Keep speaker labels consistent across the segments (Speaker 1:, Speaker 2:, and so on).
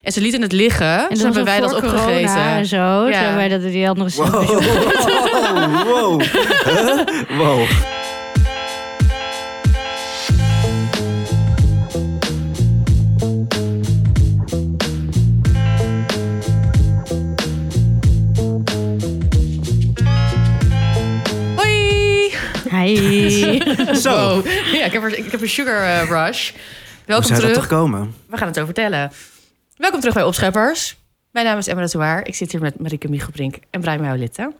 Speaker 1: En ze lieten het liggen.
Speaker 2: En
Speaker 1: dus hebben wij dat opgegeten.
Speaker 2: En zo. Toen
Speaker 1: Ja.
Speaker 2: hebben wij dat die andere
Speaker 3: Wow,
Speaker 2: snoepjes op-
Speaker 3: Oh, wow, wow. Huh? wow.
Speaker 1: Hoi!
Speaker 2: Hey.
Speaker 3: Zo,
Speaker 1: Wow. Ja, ik heb, er- ik heb een sugar eh, rush.
Speaker 3: hoe
Speaker 1: Welkom
Speaker 3: zou dat
Speaker 1: terug.
Speaker 3: toch komen?
Speaker 1: We gaan het over vertellen. Welkom terug bij Opscheppers. Mijn naam is Emma Touwaar. Ik zit hier met Marike Michelbrink en Brian Mouwlitte.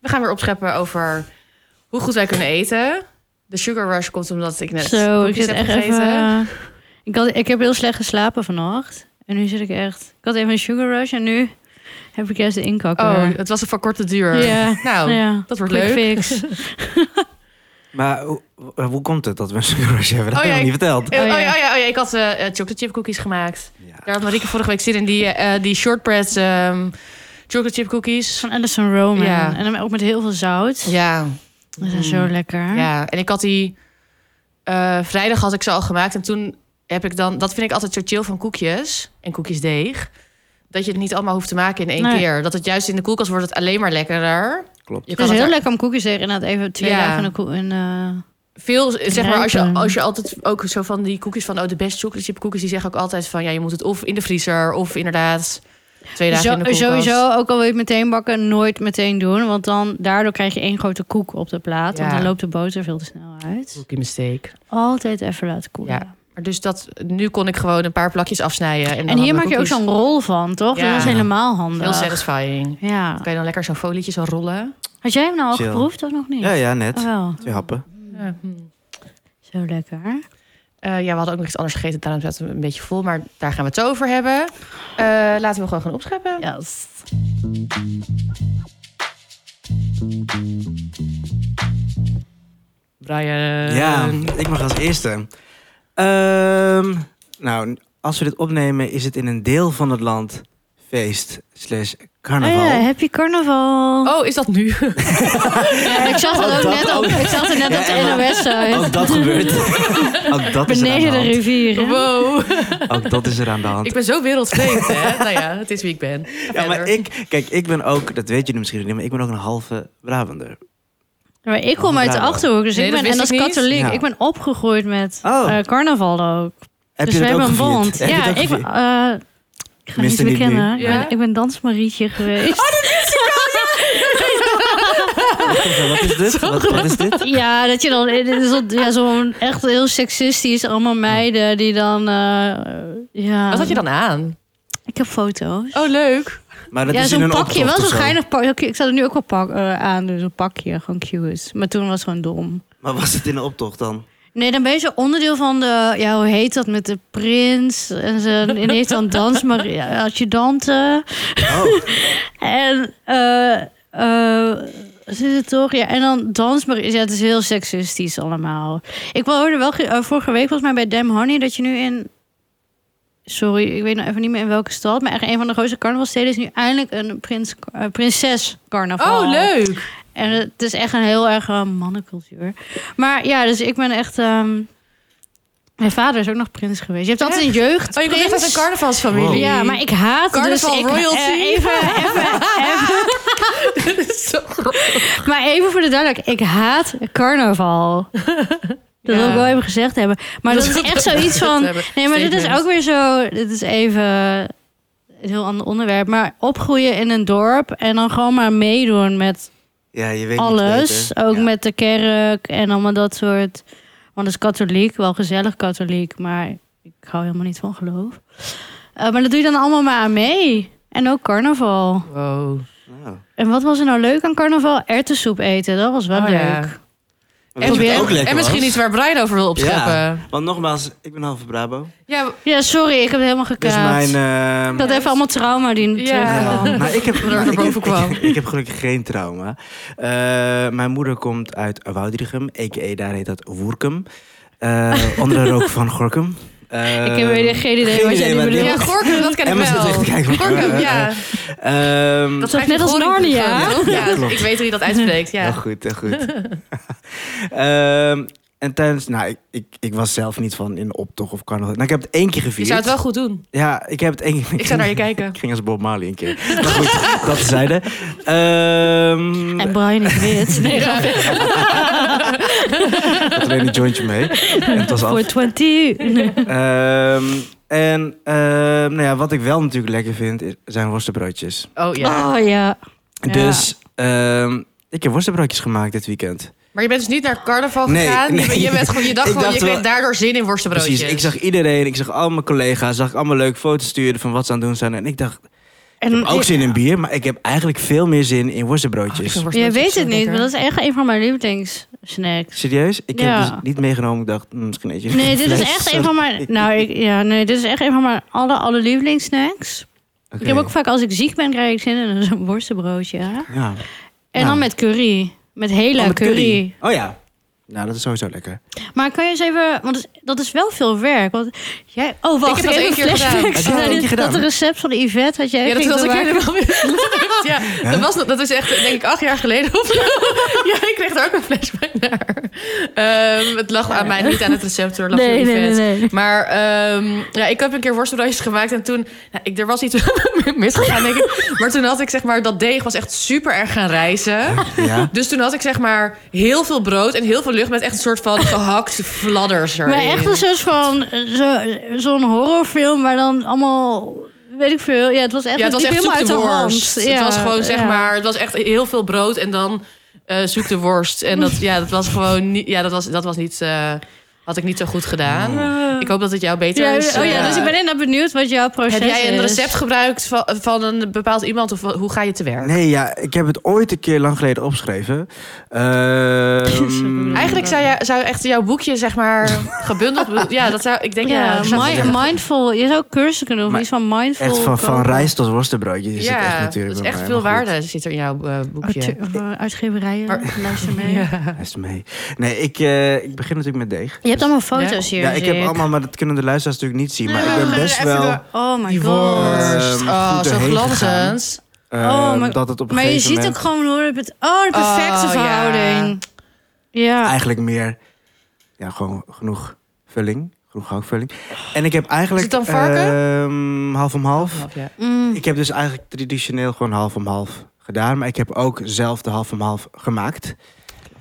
Speaker 1: We gaan weer opscheppen over hoe goed wij kunnen eten. De sugar rush komt omdat ik net
Speaker 2: Zo, ik
Speaker 1: koekjes
Speaker 2: zit
Speaker 1: heb
Speaker 2: echt
Speaker 1: gegeten.
Speaker 2: even... Ik, had, ik heb heel slecht geslapen vannacht. En nu zit ik echt... Ik had even een sugar rush en nu heb ik juist de inkakker.
Speaker 1: Oh, het was een van korte duur.
Speaker 2: Ja.
Speaker 1: Nou,
Speaker 2: ja.
Speaker 1: dat wordt
Speaker 2: Quick
Speaker 1: leuk.
Speaker 2: fix.
Speaker 3: Maar hoe, hoe komt het dat we een sugar rush hebben?
Speaker 1: Oh,
Speaker 3: Dat heb
Speaker 1: ja,
Speaker 3: ik niet verteld.
Speaker 1: Eh,
Speaker 2: Oh,
Speaker 1: Oh,
Speaker 2: ja.
Speaker 1: ja, oh, ja, oh ja, ik had eh eh, chocolate chip cookies gemaakt.
Speaker 3: Ja.
Speaker 1: Daar had Marieke vorige week zin in, die, eh, die shortbread ehm, chocolate chip cookies.
Speaker 2: Van Alison Roman.
Speaker 1: Ja.
Speaker 2: En dan ook met heel veel zout.
Speaker 1: Ja,
Speaker 2: Dat is zo lekker.
Speaker 1: Ja, en ik had die... eh, vrijdag had ik ze al gemaakt. En toen heb ik dan... Dat vind ik altijd zo chill van koekjes. En koekjesdeeg. Dat je het niet allemaal hoeft te maken in één
Speaker 2: Nee.
Speaker 1: keer. Dat het juist in de koelkast wordt het alleen maar lekkerder.
Speaker 3: Klopt.
Speaker 1: Je
Speaker 2: Het
Speaker 1: kan
Speaker 2: is
Speaker 1: het
Speaker 2: heel
Speaker 1: er
Speaker 2: lekker om koekjes tegen inderdaad even twee
Speaker 1: Ja.
Speaker 2: dagen in de koe- in, eh,
Speaker 1: veel... Zeg maar, als je,
Speaker 2: Rijpen.
Speaker 1: als je altijd ook zo van die koekjes van... Oh, de best chocolate chip koekjes. Die zeggen ook altijd van... Ja, je moet het of in de vriezer... Of inderdaad twee dagen
Speaker 2: Zo-
Speaker 1: in de koelkast.
Speaker 2: Sowieso, ook al wil je het meteen bakken, nooit meteen doen. Want dan, daardoor krijg je één grote koek op de plaat. Want
Speaker 1: Ja.
Speaker 2: dan loopt de boter veel te snel uit.
Speaker 1: Rookie mistake.
Speaker 2: Altijd even laten koelen.
Speaker 1: Ja. Maar dus dat... Nu kon ik gewoon een paar plakjes afsnijden. En, dan
Speaker 2: En hier
Speaker 1: hadden we
Speaker 2: maak je ook
Speaker 1: koekjes.
Speaker 2: zo'n rol van, toch?
Speaker 1: Ja.
Speaker 2: Dat is helemaal handig.
Speaker 1: Heel satisfying.
Speaker 2: Ja.
Speaker 1: Kan je dan lekker zo'n folietje zo rollen?
Speaker 2: Had jij hem nou al
Speaker 3: Chill.
Speaker 2: geproefd of nog niet?
Speaker 3: Ja, ja, net.
Speaker 2: Oh, wel.
Speaker 3: Twee happen.
Speaker 1: Ja. Hm.
Speaker 2: Zo lekker.
Speaker 1: Eh, ja, we hadden ook nog iets anders gegeten, daarom zaten we een beetje vol. Maar daar gaan we het over hebben. Eh, laten we gewoon gaan opscheppen.
Speaker 2: Yes.
Speaker 1: Brian.
Speaker 3: Ja, ik mag als eerste. Ehm, nou, als we dit opnemen is het in een deel van het land feest slash
Speaker 2: Oh
Speaker 3: carnaval.
Speaker 2: ja, happy carnaval.
Speaker 1: Oh, is dat nu?
Speaker 2: Ja, ik zag dat ook
Speaker 3: dat
Speaker 2: net
Speaker 3: ook.
Speaker 2: op, ik zag het net
Speaker 3: Ja,
Speaker 2: op de
Speaker 3: Emma.
Speaker 2: NOS-site.
Speaker 3: Ook dat gebeurt. Ook dat, is er aan de
Speaker 2: Beneden de
Speaker 3: hand.
Speaker 2: rivier. hè?
Speaker 1: Wow.
Speaker 3: Ook dat is er aan de hand.
Speaker 1: Ik ben zo wereldvreemd, hè? Nou ja, het is wie ik ben. Ga
Speaker 3: Ja, maar
Speaker 1: verder.
Speaker 3: ik, kijk, ik ben ook, dat weet jullie misschien niet, maar ik ben ook een halve Brabander.
Speaker 2: Maar ik kom uit de
Speaker 3: Brabant.
Speaker 2: Achterhoek, dus
Speaker 1: Nee,
Speaker 2: ik
Speaker 1: dat
Speaker 2: ben,
Speaker 1: wist
Speaker 2: en als
Speaker 1: ik niet.
Speaker 2: katholiek,
Speaker 3: Ja.
Speaker 2: ik ben opgegroeid met
Speaker 3: Oh.
Speaker 2: eh, carnaval ook.
Speaker 3: Heb
Speaker 2: dus
Speaker 3: je
Speaker 2: we
Speaker 3: dat ook
Speaker 2: hebben een
Speaker 3: gevierd?
Speaker 2: bond.
Speaker 3: Heb je
Speaker 2: ja,
Speaker 3: dat ook
Speaker 2: ik,
Speaker 3: gevierd?
Speaker 2: eh, ik ga
Speaker 3: Mist
Speaker 2: niet
Speaker 3: er niet
Speaker 2: bekennen.
Speaker 3: nu.
Speaker 2: Ik ben-
Speaker 1: Ja?
Speaker 2: Ik ben dansmarietje geweest.
Speaker 3: Wat is dit? Wat, wat is dit?
Speaker 2: Ja, dat je dan dit is zo- ja, zo'n echt heel seksistisch allemaal meiden die dan eh, ja.
Speaker 1: Wat had je dan aan?
Speaker 2: Ik heb foto's.
Speaker 1: Oh, leuk.
Speaker 3: Maar dat
Speaker 2: ja,
Speaker 3: is
Speaker 2: zo'n
Speaker 3: in een
Speaker 2: pakje,
Speaker 3: optocht
Speaker 2: wel
Speaker 3: of
Speaker 2: zo'n
Speaker 3: zo.
Speaker 2: geinig pakje. Ik zou er nu ook wel pak, eh, aan, dus een pakje, gewoon cute. Maar toen was het gewoon dom.
Speaker 3: Maar was het in een optocht dan?
Speaker 2: Nee, dan ben je zo onderdeel van de... Ja, hoe heet dat? Met de prins. En ze en die heeft dan dans, maar ja, adjudanten.
Speaker 3: Oh,
Speaker 2: En... eh eh, zit het toch? Ja, en dan dans, maar ja, het is heel seksistisch allemaal. Ik hoorde wel ge- eh, vorige week volgens mij bij Dam Honey dat je nu in... Sorry, ik weet nou even niet meer in welke stad. Maar echt een van de grootste carnavalsteden is nu eindelijk een prins, eh, prinses carnaval.
Speaker 1: Oh, leuk.
Speaker 2: En het is echt een heel erg eh, mannencultuur. Maar ja, dus ik ben echt... ehm, mijn vader is ook nog prins geweest. Je hebt altijd een jeugd.
Speaker 1: Oh, je komt echt uit een carnavalsfamilie.
Speaker 3: Wow.
Speaker 2: Ja, maar ik haat
Speaker 1: Carnaval
Speaker 2: dus... ik-
Speaker 1: royalty.
Speaker 2: eh, even, even, even-
Speaker 1: Zo grappig.
Speaker 2: maar even voor de duidelijkheid. Ik haat carnaval. Dat
Speaker 1: Ja.
Speaker 2: wil ik wel even gezegd hebben. Maar dat, is echt zoiets van... Nee, maar dit is ook weer zo... Dit is even een heel ander onderwerp. Maar opgroeien in een dorp en dan gewoon maar meedoen met
Speaker 3: ja, je weet niet
Speaker 2: alles.
Speaker 3: beter.
Speaker 2: Ook
Speaker 3: Ja.
Speaker 2: met de kerk en allemaal dat soort. Want als katholiek, wel gezellig katholiek, maar ik hou helemaal niet van geloof. Eh, maar dat doe je dan allemaal maar aan mee. En ook carnaval.
Speaker 1: Wow.
Speaker 3: Nou,
Speaker 2: En wat was er nou leuk aan carnaval? Erwtensoep eten, dat was wel
Speaker 1: Oh,
Speaker 2: leuk.
Speaker 1: ja.
Speaker 3: weet je wat
Speaker 2: probeer-
Speaker 3: ook lekker
Speaker 1: en misschien
Speaker 3: was?
Speaker 1: iets waar Brian over wil opscheppen. Ja.
Speaker 3: Ja, want nogmaals, ik ben halve Brabo.
Speaker 2: Ja, sorry, ik heb het helemaal
Speaker 3: Dus
Speaker 2: gekaapt.
Speaker 3: mijn... ehm,
Speaker 2: Ik had even allemaal trauma die
Speaker 1: Ja.
Speaker 2: terugkwam.
Speaker 3: Ja, maar ik heb,
Speaker 1: Waardoor
Speaker 3: maar
Speaker 1: er
Speaker 3: ik, heb,
Speaker 1: boven kwam.
Speaker 3: ik, heb gelukkig geen trauma. Eh, mijn moeder komt uit Woudrichem, a.k.a. daar heet dat Woerkum. Eh, onder de rook van Gorkum. Eh,
Speaker 2: Ik heb weer geen idee wat jij nu
Speaker 3: waar die-
Speaker 2: bedoelt.
Speaker 1: ja, Gorkum, dat ken ik
Speaker 3: Emma zit echt
Speaker 1: wel.
Speaker 3: te kijken van,
Speaker 1: Gorkum,
Speaker 3: eh,
Speaker 1: ja.
Speaker 3: ehm,
Speaker 2: is ook net als Narnia.
Speaker 1: Ja,
Speaker 3: Ja, klopt.
Speaker 1: ik weet hoe je dat uitspreekt. Ja.
Speaker 3: Heel goed, heel goed. Ehm, en En tijdens, nou, ik, ik, ik was zelf niet van in de optocht of carnaval. Nou, ik heb het één keer
Speaker 1: Je
Speaker 3: gevierd.
Speaker 1: zou het wel goed doen.
Speaker 3: Ja, ik heb het één keer.
Speaker 1: Ik zou naar je kijken.
Speaker 3: Ik ging als Bob Marley een keer. Maar goed, dat zeiden. Ehm
Speaker 2: En Brian is wit. Nee,
Speaker 3: ik had alleen een jointje mee. En het was af.
Speaker 2: Voor 20. Nee.
Speaker 3: Ehm, en ehm, nou ja, wat ik wel natuurlijk lekker vind, is- zijn worstenbroodjes.
Speaker 1: Oh ja.
Speaker 2: Oh ja. Ja.
Speaker 3: Dus ehm, ik heb worstenbroodjes gemaakt dit weekend.
Speaker 1: Maar je bent dus niet naar carnaval
Speaker 3: Nee,
Speaker 1: gegaan. Je
Speaker 3: nee.
Speaker 1: bent- Je bent gewoon je dag
Speaker 3: Ik
Speaker 1: gewoon, je
Speaker 3: dacht
Speaker 1: kreeg
Speaker 3: wel-
Speaker 1: daardoor zin in worstenbroodjes. Oh,
Speaker 3: Precies, ik zag iedereen, ik zag al mijn collega's, zag ik allemaal leuke foto's sturen van wat ze aan het doen zijn. En ik dacht, ik
Speaker 2: En
Speaker 3: heb ook zin in bier, maar ik heb eigenlijk veel meer zin in
Speaker 1: Oh, ik vind
Speaker 3: worstenbroodjes.
Speaker 2: Je
Speaker 1: worstenbroodjes
Speaker 2: weet
Speaker 1: zo
Speaker 2: het niet,
Speaker 1: lekker.
Speaker 2: maar dat is echt een van mijn lievelingssnacks.
Speaker 3: Serieus? Ik
Speaker 2: Ja.
Speaker 3: heb dus niet meegenomen. Ik dacht, hm, misschien eet je
Speaker 2: Nee,
Speaker 3: een
Speaker 2: dit is
Speaker 3: fles.
Speaker 2: echt een van mijn. Nou, ik, ja, nee, dit is echt een van mijn alle, alle lievelingssnacks.
Speaker 3: Oké.
Speaker 2: Ik heb ook vaak als ik ziek ben, krijg ik zin in een worstenbroodje. hè?
Speaker 3: Ja.
Speaker 2: En
Speaker 3: Ja.
Speaker 2: dan met curry. Met hele
Speaker 3: Oh, met
Speaker 2: curry.
Speaker 3: Oh ja. Nou, dat is sowieso lekker.
Speaker 2: Maar kan je eens even, want dat is- dat is wel veel werk. Want jij, oh wacht,
Speaker 1: heb dat
Speaker 2: even
Speaker 1: één keer
Speaker 2: flashbacks
Speaker 1: gedaan.
Speaker 3: Heb jij dat
Speaker 2: naar
Speaker 3: één
Speaker 2: dit-
Speaker 3: keer gedaan?
Speaker 2: Dat recept van Yvette had jij
Speaker 1: Ja, dat
Speaker 2: even
Speaker 1: was ik
Speaker 2: gemaakt.
Speaker 1: helemaal mislukt. Ja, dat, was, dat is echt, denk ik, acht jaar geleden of zo. Ja, ik kreeg daar ook een flashback naar. Ehm, het lag aan mij, niet aan het recept hoor. lag heel
Speaker 2: Nee, nee, nee,
Speaker 1: vet.
Speaker 2: nee.
Speaker 1: Maar ehm, ja, ik heb een keer worstenbroodjes gemaakt en toen... Nou, ik, er was iets misgegaan, denk ik. Maar toen had ik zeg maar... Dat deeg was echt super erg gaan rijzen.
Speaker 3: Ja.
Speaker 1: Dus toen had ik zeg maar heel veel brood en heel veel lucht... met echt een soort van gehakte fladders erin.
Speaker 2: Maar echt een soort van eh, zo- zo'n horrorfilm, maar dan allemaal, weet ik veel. Ja, het was echt,
Speaker 1: ja, het was
Speaker 2: die
Speaker 1: echt
Speaker 2: film
Speaker 1: zoek
Speaker 2: uit
Speaker 1: de
Speaker 2: de
Speaker 1: worst.
Speaker 2: hand.
Speaker 1: het
Speaker 2: Ja,
Speaker 1: was gewoon zeg
Speaker 2: ja.
Speaker 1: maar, het was echt heel veel brood en dan eh zoek de worst. En dat, ja, dat was gewoon niet, ja, dat was, dat was niet, eh, had ik niet zo goed gedaan. Ik hoop dat het jou beter
Speaker 2: Ja,
Speaker 1: is.
Speaker 2: oh ja,
Speaker 1: eh,
Speaker 2: dus ik ben inderdaad benieuwd wat jouw proces
Speaker 1: heb
Speaker 2: is.
Speaker 1: jij een recept gebruikt van, van een bepaald iemand of hoe ga je te werk?
Speaker 3: Nee, ja, ik heb het ooit een keer lang geleden opgeschreven. Ehm,
Speaker 1: Eigenlijk zou, jij, zou echt jouw boekje zeg maar gebundeld, ja, dat zou, ik denk ja,
Speaker 2: Ja,
Speaker 1: dat zou-
Speaker 2: mi- mindful. Je zou cursussen kunnen doen.
Speaker 3: Maar
Speaker 2: iets van mindful.
Speaker 3: echt van, van
Speaker 2: koken.
Speaker 3: rijst tot worstenbroodjes is het echt
Speaker 1: ja,
Speaker 3: natuurlijk.
Speaker 1: dat is
Speaker 3: bij
Speaker 1: echt
Speaker 3: mij,
Speaker 1: veel
Speaker 3: maar goed.
Speaker 1: waarde zit er in jouw eh, boekje.
Speaker 2: Artu- of, eh, uitgeverijen. Luister mee.
Speaker 3: Hij is mee. Nee, ik, eh, ik begin natuurlijk met deeg.
Speaker 2: Je hebt allemaal foto's hier.
Speaker 3: Ja, ik
Speaker 2: zie
Speaker 3: heb allemaal, maar dat kunnen de luisteraars natuurlijk niet zien. Maar ik ben best wel...
Speaker 2: Oh my
Speaker 1: Die
Speaker 2: god.
Speaker 1: worst,
Speaker 3: Ehm,
Speaker 1: oh,
Speaker 3: goed
Speaker 1: zo
Speaker 3: erheen gegaan.
Speaker 1: glanzend.
Speaker 3: eh,
Speaker 2: Oh, maar-
Speaker 3: dat het op een
Speaker 2: Maar je
Speaker 3: gegeven
Speaker 2: ziet ook
Speaker 3: moment
Speaker 2: gewoon hoe het... met- Oh, de perfecte
Speaker 1: Oh, ja.
Speaker 2: verhouding. Ja.
Speaker 3: eigenlijk meer... Ja, gewoon genoeg vulling. Genoeg houtvulling. En ik heb eigenlijk...
Speaker 1: Is het dan varken?
Speaker 3: ehm, half om half.
Speaker 1: Ja.
Speaker 2: Mm.
Speaker 3: Ik heb dus eigenlijk traditioneel gewoon half om half gedaan. Maar ik heb ook zelf de half om half gemaakt.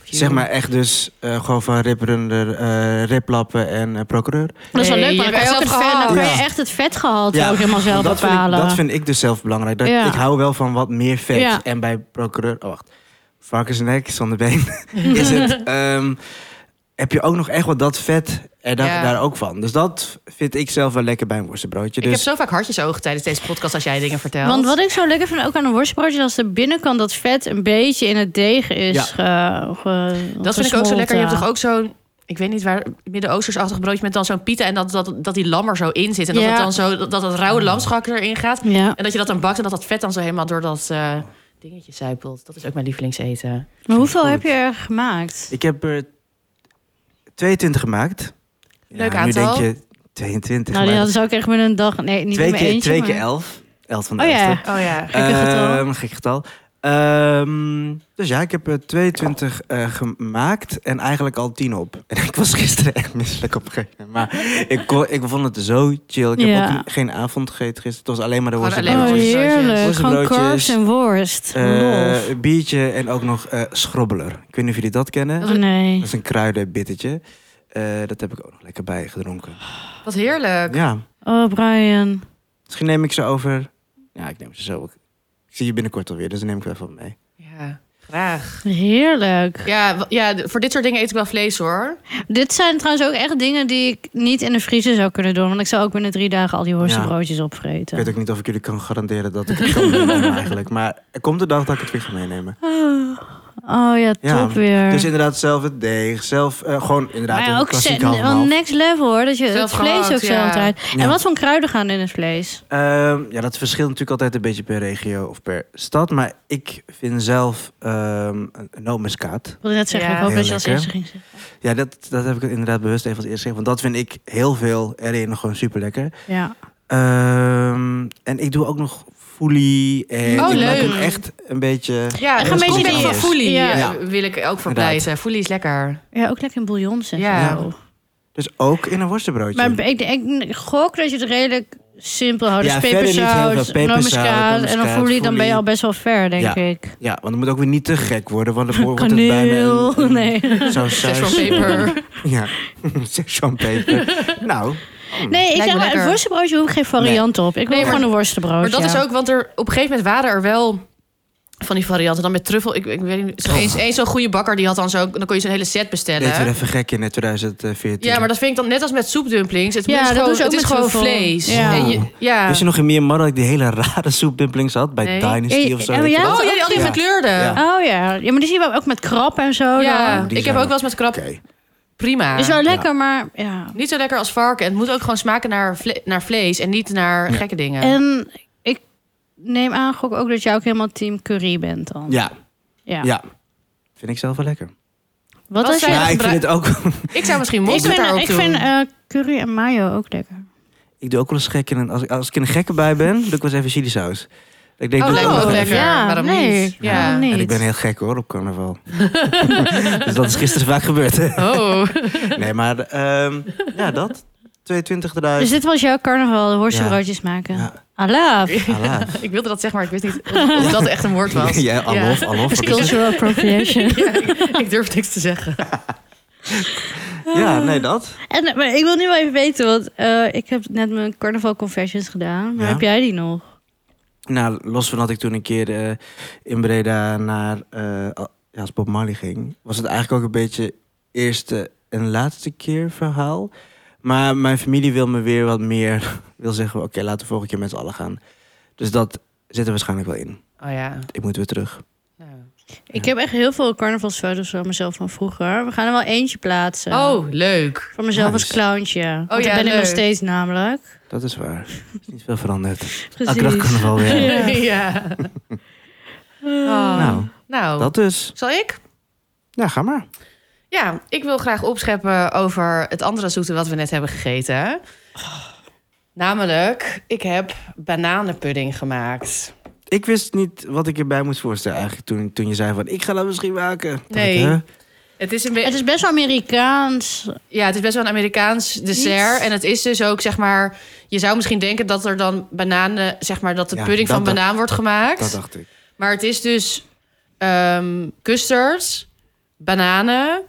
Speaker 3: Zeg maar echt dus eh, gewoon van riprunder, eh, riplappen en eh, procureur.
Speaker 2: Dat is wel
Speaker 1: Nee,
Speaker 2: leuk, maar
Speaker 1: je
Speaker 2: dan kan
Speaker 1: hebt
Speaker 2: je, ook het
Speaker 1: zelf
Speaker 2: vet, dan
Speaker 1: gehaald.
Speaker 2: kan je
Speaker 3: Ja.
Speaker 2: echt het vetgehalte
Speaker 3: Ja,
Speaker 2: ook helemaal zelf
Speaker 3: dat, vind ik,
Speaker 2: bepalen.
Speaker 3: dat vind ik dus zelf belangrijk. Dat,
Speaker 2: Ja.
Speaker 3: Ik hou wel van wat meer vet.
Speaker 2: Ja.
Speaker 3: En bij procureur... Oh, wacht. Varkensnek, zonder been. is het... ehm, heb je ook nog echt wat dat vet er daar,
Speaker 1: Ja.
Speaker 3: daar ook van. Dus dat vind ik zelf wel lekker bij een worstenbroodje.
Speaker 1: Ik heb
Speaker 3: Dus
Speaker 1: zo vaak hartjesogen tijdens deze podcast als jij dingen vertelt.
Speaker 2: Want wat ik zo lekker vind, ook aan een worstbroodje... is als de binnenkant dat vet een beetje in het deeg is
Speaker 3: Ja.
Speaker 2: ge- ge-
Speaker 1: dat vind ik ook zo
Speaker 2: gesmolten.
Speaker 1: lekker. Je hebt toch ook zo'n, ik weet niet waar, Midden-Oostersachtig broodje met dan zo'n pita en dat, dat, dat die lam er zo in zit. En dat
Speaker 2: Ja. Hmm.
Speaker 1: het dan zo, dat, dat het rauwe lamschak erin gaat.
Speaker 2: Ja.
Speaker 1: En dat je dat dan bakt en dat dat vet dan zo helemaal door dat eh, dingetje zuipelt. Dat is ook mijn lievelingseten.
Speaker 2: Maar hoeveel
Speaker 3: Goed.
Speaker 2: heb je er gemaakt?
Speaker 3: ik heb er 22 gemaakt.
Speaker 1: Leuk
Speaker 3: nu
Speaker 1: aantal.
Speaker 3: denk je 22.
Speaker 2: Nou, die
Speaker 3: maar
Speaker 2: hadden ze ook echt met een dag... Nee, niet
Speaker 3: twee
Speaker 2: met
Speaker 3: keer,
Speaker 2: eentje.
Speaker 3: twee keer
Speaker 2: maar-
Speaker 3: 11. 11 van de
Speaker 2: Oh
Speaker 3: elfde.
Speaker 2: ja,
Speaker 1: Oh ja.
Speaker 2: gekke getal.
Speaker 3: Ehm, gek getal. Ehm, dus ja, ik heb er 22 eh, gemaakt en eigenlijk al 10 op. En ik was gisteren echt misselijk op een gegeven moment. Maar ik, kon, ik vond het zo chill. Ik heb
Speaker 2: Ja.
Speaker 3: ook geen avond gegeten gisteren. Het was alleen maar de
Speaker 1: Gewoon alleen
Speaker 2: Oh,
Speaker 1: maar
Speaker 3: worstenbroodjes.
Speaker 1: worstenbroodjes.
Speaker 2: heerlijk. Gewoon
Speaker 3: Worstenbroodjes.
Speaker 2: carbs en worst.
Speaker 3: Eh,
Speaker 2: Lol.
Speaker 3: een biertje en ook nog eh schrobbeler. Ik weet niet of jullie dat kennen.
Speaker 2: Oh, nee.
Speaker 3: Dat is een kruidenbittertje. Eh, dat heb ik ook nog lekker bij gedronken.
Speaker 1: Wat heerlijk.
Speaker 3: Ja,
Speaker 2: Oh, Brian.
Speaker 3: misschien neem ik ze over. Ja, ik neem ze zo. Ik zie je binnenkort alweer, dus dan neem ik er even wat mee.
Speaker 1: Ja, graag.
Speaker 2: Heerlijk.
Speaker 1: Ja, w- ja, d- voor dit soort dingen eet ik wel vlees hoor.
Speaker 2: Dit zijn trouwens ook echt dingen die ik niet in de vriezer zou kunnen doen. Want ik zou ook binnen drie dagen al die worstenbroodjes
Speaker 3: Ik weet
Speaker 2: opvreten.
Speaker 3: ook niet of ik jullie kan garanderen dat ik het kan meenemen eigenlijk. Maar er komt de dag dat ik het weer ga meenemen.
Speaker 2: Oh, oh ja, top
Speaker 3: Ja,
Speaker 2: weer.
Speaker 3: Dus inderdaad zelf het deeg, zelf eh, gewoon inderdaad
Speaker 2: maar
Speaker 3: een
Speaker 2: ja, ook
Speaker 3: klassieke
Speaker 2: ze-
Speaker 3: half en
Speaker 2: wel
Speaker 3: half.
Speaker 2: next level hoor. Dat je
Speaker 1: Zelf
Speaker 2: het vlees
Speaker 1: gehakt,
Speaker 2: ook
Speaker 1: ja.
Speaker 2: zelf draait.
Speaker 3: Ja.
Speaker 2: En wat voor kruiden gaan in het vlees?
Speaker 3: Ehm, ja, dat verschilt natuurlijk altijd een beetje per regio of per stad. Maar ik vind zelf ehm een een nootmuskaat.
Speaker 2: Ik wilde net zeggen,
Speaker 1: Ja.
Speaker 2: ik hoop
Speaker 3: Heel
Speaker 2: dat je als
Speaker 3: lekker.
Speaker 2: eerste ging zeggen.
Speaker 3: Ja, dat, dat heb ik inderdaad bewust even als eerste gezegd. Want dat vind ik heel veel erin gewoon super lekker.
Speaker 2: Ja.
Speaker 3: Ehm, En ik doe ook nog foelie. En
Speaker 1: Oh,
Speaker 3: ik maak
Speaker 1: leuk.
Speaker 3: hem echt een beetje...
Speaker 1: Ja,
Speaker 2: echt
Speaker 1: een
Speaker 2: een
Speaker 1: beetje
Speaker 2: beetje
Speaker 1: weg van
Speaker 3: anders.
Speaker 1: foelie
Speaker 2: Ja.
Speaker 1: eh, wil ik ook voor
Speaker 3: Inderdaad.
Speaker 1: prijzen. Foelie is lekker.
Speaker 2: Ja, ook lekker in bouillon zeg.
Speaker 1: Ja.
Speaker 2: maar.
Speaker 3: Ja. Dus ook in een worstenbroodje.
Speaker 2: Maar ik, ik gok dat je het redelijk simpel houdt.
Speaker 3: Ja,
Speaker 2: dus
Speaker 3: verder niet heel
Speaker 2: peperzout,
Speaker 3: veel. Peperzout,
Speaker 2: nootmuskaat en dan
Speaker 3: nootmuskaat,
Speaker 2: foelie. Dan ben je
Speaker 3: foelie.
Speaker 2: al best wel ver, denk
Speaker 3: Ja.
Speaker 2: ik.
Speaker 3: Ja, want het moet ook weer niet te gek worden, want dan wordt het bijna
Speaker 2: Kaneel.
Speaker 3: een, een
Speaker 2: Nee.
Speaker 3: zo'n
Speaker 1: Zes van
Speaker 3: saus.
Speaker 1: peper.
Speaker 3: Ja, champagne. Nou,
Speaker 2: Nee,
Speaker 1: Lijkt
Speaker 2: ik
Speaker 1: me
Speaker 2: zeg maar,
Speaker 1: lekker.
Speaker 2: een worstenbroodje hoef ik geen variant op. Ik wil
Speaker 1: Nee, maar-
Speaker 2: gewoon een worstenbroodje.
Speaker 1: Maar dat is ook, want er, op een gegeven moment waren er wel van die varianten. Dan met truffel, ik, ik weet niet,
Speaker 2: Oh.
Speaker 1: zo, eens, eens zo'n goede bakker die had dan zo, dan kon je zo'n hele set bestellen.
Speaker 3: deed weer even gek in eh, 2014.
Speaker 1: Ja, maar dat vind ik dan net als met soepdumplings. Het
Speaker 2: Ja,
Speaker 1: is
Speaker 2: dat
Speaker 1: gewoon,
Speaker 2: doen ze ook
Speaker 1: het is
Speaker 2: met
Speaker 1: gewoon
Speaker 2: truffel.
Speaker 1: vlees.
Speaker 2: Ja.
Speaker 1: En je- ja.
Speaker 3: Wist je nog in Myanmar dat ik die hele rare soepdumplings had? Bij
Speaker 1: Nee.
Speaker 3: Dynasty
Speaker 2: Eh,
Speaker 3: of zo.
Speaker 2: eh,
Speaker 3: weet je
Speaker 2: ja?
Speaker 3: wel?
Speaker 1: Oh, ja, die- al die
Speaker 3: Ja.
Speaker 1: gekleurde. Ja,
Speaker 3: Ja.
Speaker 2: Oh ja. Ja, maar die zien we ook met krap en zo. dan.
Speaker 3: die
Speaker 1: ik heb
Speaker 3: zijn
Speaker 1: ook wel eens met krap.
Speaker 3: Oké.
Speaker 1: Prima.
Speaker 2: Oh, Is wel lekker, maar ja.
Speaker 1: Niet zo lekker als varken. Het moet ook gewoon smaken naar, vle- naar vlees en niet naar
Speaker 3: Ja.
Speaker 1: gekke dingen.
Speaker 2: En ik neem aan, gok ook dat jij ook helemaal team curry bent dan.
Speaker 3: Ja,
Speaker 2: Ja.
Speaker 3: ja. Vind ik zelf wel lekker.
Speaker 2: Wat
Speaker 1: Wat
Speaker 2: als
Speaker 1: zei
Speaker 2: jij...
Speaker 1: je?
Speaker 3: Ja, ik
Speaker 1: gebruik-
Speaker 3: vind het ook...
Speaker 1: Ik zou misschien
Speaker 2: Ik
Speaker 1: mosterd
Speaker 2: vind,
Speaker 1: daarop
Speaker 2: ik
Speaker 1: doen.
Speaker 2: vind eh, curry en mayo ook lekker.
Speaker 3: Ik doe ook wel eens gek in een... Als ik, als ik in een gekke bij ben, doe ik wel eens even chili saus. Ik denk,
Speaker 1: Oh,
Speaker 3: doe ik
Speaker 1: lijkt
Speaker 3: ook
Speaker 1: me
Speaker 3: nog
Speaker 1: ook
Speaker 3: even.
Speaker 1: lekker.
Speaker 2: Ja,
Speaker 1: Waarom
Speaker 2: nee,
Speaker 1: niet?
Speaker 2: waarom niet?
Speaker 3: En ik ben heel gek hoor, op carnaval. dus dat is gisteren vaak gebeurd. hè.
Speaker 1: Oh.
Speaker 3: Nee, maar ehm, ja, dat. 22
Speaker 2: Dus
Speaker 3: eruit.
Speaker 2: dit was jouw carnaval, de worstenbroodjes maken.
Speaker 3: Ja.
Speaker 2: Alaaf.
Speaker 3: Allah.
Speaker 1: ik wilde dat zeggen, maar ik wist niet of, of dat echt een woord was.
Speaker 3: Ja, alof, alof. wat is het?
Speaker 2: Cultural appropriation.
Speaker 1: Ja, ik, ik durf niks te zeggen.
Speaker 3: Ja, nee, dat.
Speaker 2: En, eh, maar ik wil nu wel even weten, want eh, ik heb net mijn carnaval confessions gedaan. Maar
Speaker 3: Ja.
Speaker 2: heb jij die nog?
Speaker 3: Nou, los van dat ik toen een keer eh, in Breda naar... eh, al- ja, als Bob Marley ging, was het eigenlijk ook een beetje eerste en laatste keer verhaal. Maar mijn familie wil me weer wat meer... Wil zeggen, oké, laten we volgende keer met z'n allen gaan. Dus dat zit er waarschijnlijk wel in.
Speaker 1: Oh ja.
Speaker 3: Ik moet weer terug.
Speaker 2: Ik heb echt heel veel carnavalsfoto's van mezelf van vroeger. We gaan er wel eentje plaatsen.
Speaker 1: Oh, leuk.
Speaker 2: Van mezelf
Speaker 3: Nice.
Speaker 2: als clowntje. Oh,
Speaker 1: ja,
Speaker 2: ja, ben ik
Speaker 1: leuk.
Speaker 2: nog steeds namelijk.
Speaker 3: Dat is waar. Er is niet veel veranderd.
Speaker 2: Precies.
Speaker 3: Akrak kan wel weer.
Speaker 1: Ja.
Speaker 2: Ja.
Speaker 1: Oh.
Speaker 3: Nou,
Speaker 1: Nou,
Speaker 3: dat dus.
Speaker 1: zal ik?
Speaker 3: Ja, ga maar.
Speaker 1: Ja, ik wil graag opscheppen over het andere zoete wat we net hebben gegeten. Namelijk, ik heb bananenpudding gemaakt.
Speaker 3: Ik wist niet wat ik erbij moest voorstellen eigenlijk toen, toen je zei van ik ga dat misschien maken. Dacht ik,
Speaker 1: Nee.
Speaker 3: hè?
Speaker 1: Het is, een be-
Speaker 2: Het is best wel Amerikaans.
Speaker 1: ja, het is best wel een Amerikaans dessert.
Speaker 2: Niet-
Speaker 1: En het is dus ook, zeg maar... Je zou misschien denken dat er dan bananen... Zeg maar, dat de
Speaker 3: Ja,
Speaker 1: pudding
Speaker 3: dat
Speaker 1: van
Speaker 3: dacht-
Speaker 1: banaan wordt gemaakt.
Speaker 3: Dat dacht ik.
Speaker 1: Maar het is dus ehm custard, bananen,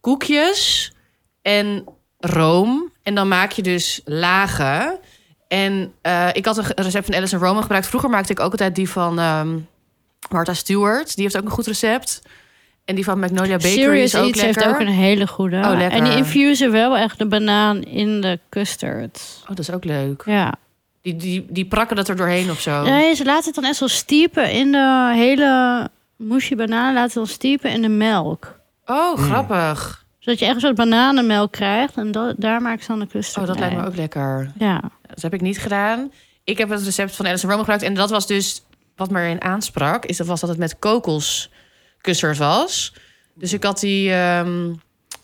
Speaker 1: koekjes en room. En dan maak je dus lagen. En eh, ik had een ge- recept van Alice en Roma gebruikt. Vroeger maakte ik ook altijd die van ehm Martha Stewart. Die heeft ook een goed recept. En die van Magnolia Bakery
Speaker 2: Serious
Speaker 1: is ook
Speaker 2: Eats
Speaker 1: lekker.
Speaker 2: heeft ook een hele goede.
Speaker 1: Oh, lekker.
Speaker 2: En die infusen wel echt de banaan in de custard.
Speaker 1: Oh, dat is ook leuk.
Speaker 2: Ja.
Speaker 1: Die, die, die prakken dat er doorheen of zo.
Speaker 2: Nee, ze laten het dan echt wel stiepen in de hele moesje banaan. Laten ze dan stiepen in de melk.
Speaker 1: Oh, grappig.
Speaker 2: Zodat je echt een soort bananenmelk krijgt. En da- daar maken ze dan de
Speaker 1: Oh,
Speaker 2: custard
Speaker 1: dat lijkt me
Speaker 2: mee.
Speaker 1: ook lekker.
Speaker 2: Ja.
Speaker 1: Dat heb ik niet gedaan. Ik heb het recept van Alice Rome gebruikt. En dat was dus wat me erin aansprak. Is dat was dat het met kokoskussers was. Dus ik had die ehm,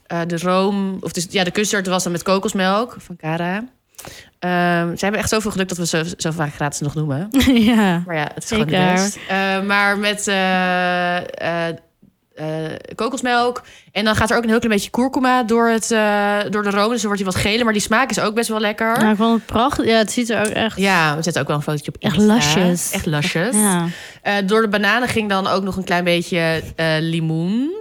Speaker 1: eh, de room. Of dus, ja, de custard was dan met kokosmelk van Cara. Ehm, ze hebben echt zoveel geluk dat we zo, zo vaak gratis nog noemen.
Speaker 2: ja.
Speaker 1: Maar ja, het is gewoon de
Speaker 2: Zeker.
Speaker 1: best. Eh, maar met eh, eh, eh, kokosmelk. En dan gaat er ook een heel klein beetje kurkuma door, het, eh, door de room. Dus dan wordt hij wat geler. Maar die smaak is ook best wel lekker.
Speaker 2: Maar ik vond het prachtig. Ja, het ziet er ook echt...
Speaker 1: Ja, we zetten ook wel een fotootje op
Speaker 2: Echt
Speaker 1: Insta.
Speaker 2: lasjes.
Speaker 1: Echt lasjes.
Speaker 2: Ja.
Speaker 1: Eh, door de bananen ging dan ook nog een klein beetje eh, limoen.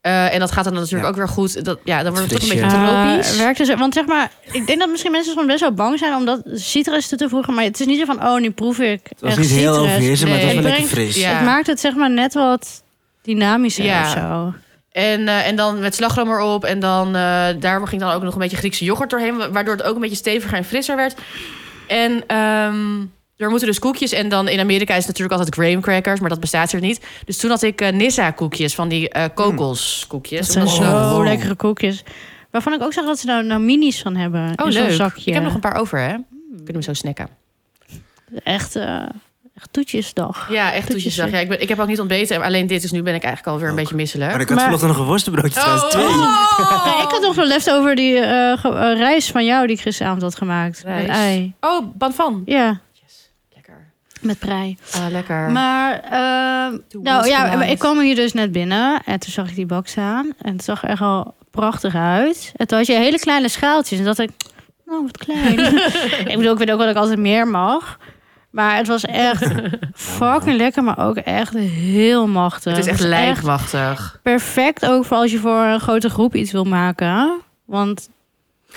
Speaker 1: Eh, en dat gaat dan natuurlijk
Speaker 3: Ja.
Speaker 1: ook weer goed. Dat, ja, dan wordt het toch een
Speaker 3: Frisje.
Speaker 1: beetje tropisch.
Speaker 2: Eh, werkt dus, want zeg maar, ik denk dat misschien mensen soms best wel bang zijn om dat citrus toe te voegen. Maar het is niet zo van, oh, nu proef ik
Speaker 3: Het was
Speaker 2: echt
Speaker 3: niet heel
Speaker 2: citrus.
Speaker 3: overheersend, maar het was wel
Speaker 2: Nee.
Speaker 3: lekker fris.
Speaker 1: Ja.
Speaker 2: Het maakt het zeg maar net wat dynamischer
Speaker 1: Ja.
Speaker 2: of zo.
Speaker 1: en, eh, en dan met slagroom erop. En dan eh, daar ging dan ook nog een beetje Griekse yoghurt doorheen. wa- Waardoor het ook een beetje steviger en frisser werd. En ehm, er moeten dus koekjes. En dan in Amerika is het natuurlijk altijd graham crackers. Maar dat bestaat er niet. Dus toen had ik eh, Nissa koekjes. Van die eh
Speaker 3: Hmm.
Speaker 1: kokoskoekjes.
Speaker 2: Dat zijn
Speaker 1: Omdat-
Speaker 2: zo
Speaker 3: wow.
Speaker 2: lekkere koekjes. Waarvan ik ook zag dat ze daar nou minis van hebben.
Speaker 1: Oh,
Speaker 2: in zo'n
Speaker 1: leuk.
Speaker 2: zakje.
Speaker 1: Ik heb nog een paar over, hè? Kunnen we zo snacken.
Speaker 2: Echt, eh, echt toetjesdag.
Speaker 1: Ja, echt toetjes. Ja, ik, ben, ik heb ook niet ontbeten. Alleen dit, dus nu ben ik eigenlijk alweer een
Speaker 3: Ook.
Speaker 1: beetje
Speaker 3: Maar
Speaker 1: misselijk.
Speaker 3: ik had
Speaker 2: Maar-
Speaker 3: vanochtend nog een worstenbroodje
Speaker 1: Oh!
Speaker 3: trouwens. Twee.
Speaker 2: Ja, ik had nog wel leftover die eh, ge- eh, rijst van jou die ik gisteravond had gemaakt.
Speaker 1: Rijst.
Speaker 2: Met ei.
Speaker 1: Oh, ban van.
Speaker 2: Ja,
Speaker 1: Lekker.
Speaker 2: Met prei.
Speaker 1: Ah, lekker.
Speaker 2: Maar, eh,
Speaker 1: Doe
Speaker 2: nou
Speaker 1: ons
Speaker 2: ja,
Speaker 1: vanavond.
Speaker 2: ik kwam hier dus net binnen en toen zag ik die bak staan. En het zag er echt al prachtig uit. En toen had je hele kleine schaaltjes. En dat ik, nou wat klein. ik bedoel, ik weet ook wel dat ik altijd meer mag. Maar het was echt fucking lekker, maar ook echt heel machtig.
Speaker 1: het is echt
Speaker 2: Het was
Speaker 1: lijkwachtig.
Speaker 2: perfect ook voor als je voor een grote groep iets wil maken. Want,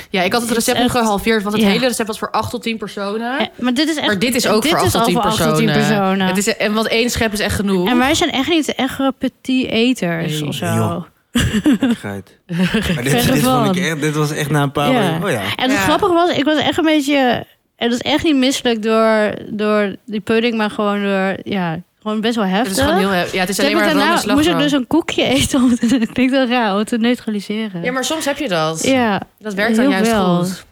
Speaker 1: Ja, ik had het
Speaker 2: Het is
Speaker 1: recept nog
Speaker 2: echt-
Speaker 1: gehalveerd, want het
Speaker 2: ja.
Speaker 1: hele recept was voor 8 tot 10 personen.
Speaker 2: eh, maar dit is echt...
Speaker 1: maar E- dit is ook voor 8
Speaker 2: is
Speaker 1: tot
Speaker 2: al
Speaker 1: 10
Speaker 2: voor acht
Speaker 1: personen.
Speaker 2: personen.
Speaker 1: Het is, en want één schep is echt genoeg.
Speaker 2: En wij zijn echt niet de echt petit eters
Speaker 1: Nee.
Speaker 2: of zo.
Speaker 3: Joh. Gekkigheid. Maar dit, dit, vond ik echt, dit was echt na een paar
Speaker 2: Ja.
Speaker 3: weken- Oh ja.
Speaker 2: En het
Speaker 1: Ja.
Speaker 2: grappige was, ik was echt een beetje... En dat is echt niet misselijk door, door die pudding, maar gewoon door... Ja, gewoon best wel
Speaker 1: het
Speaker 2: heftig.
Speaker 1: is gewoon heel... hef- Ja, het is
Speaker 2: Toen
Speaker 1: alleen
Speaker 2: heb ik
Speaker 1: maar
Speaker 2: daarna
Speaker 1: room en
Speaker 2: moest ik
Speaker 1: slagroom.
Speaker 2: dus een koekje eten. Om te, dat klinkt wel raar, om te neutraliseren.
Speaker 1: dus- Ja, maar soms heb je dat.
Speaker 2: Ja,
Speaker 1: Dat werkt dan
Speaker 2: Heel
Speaker 1: juist
Speaker 2: wel.
Speaker 1: goed.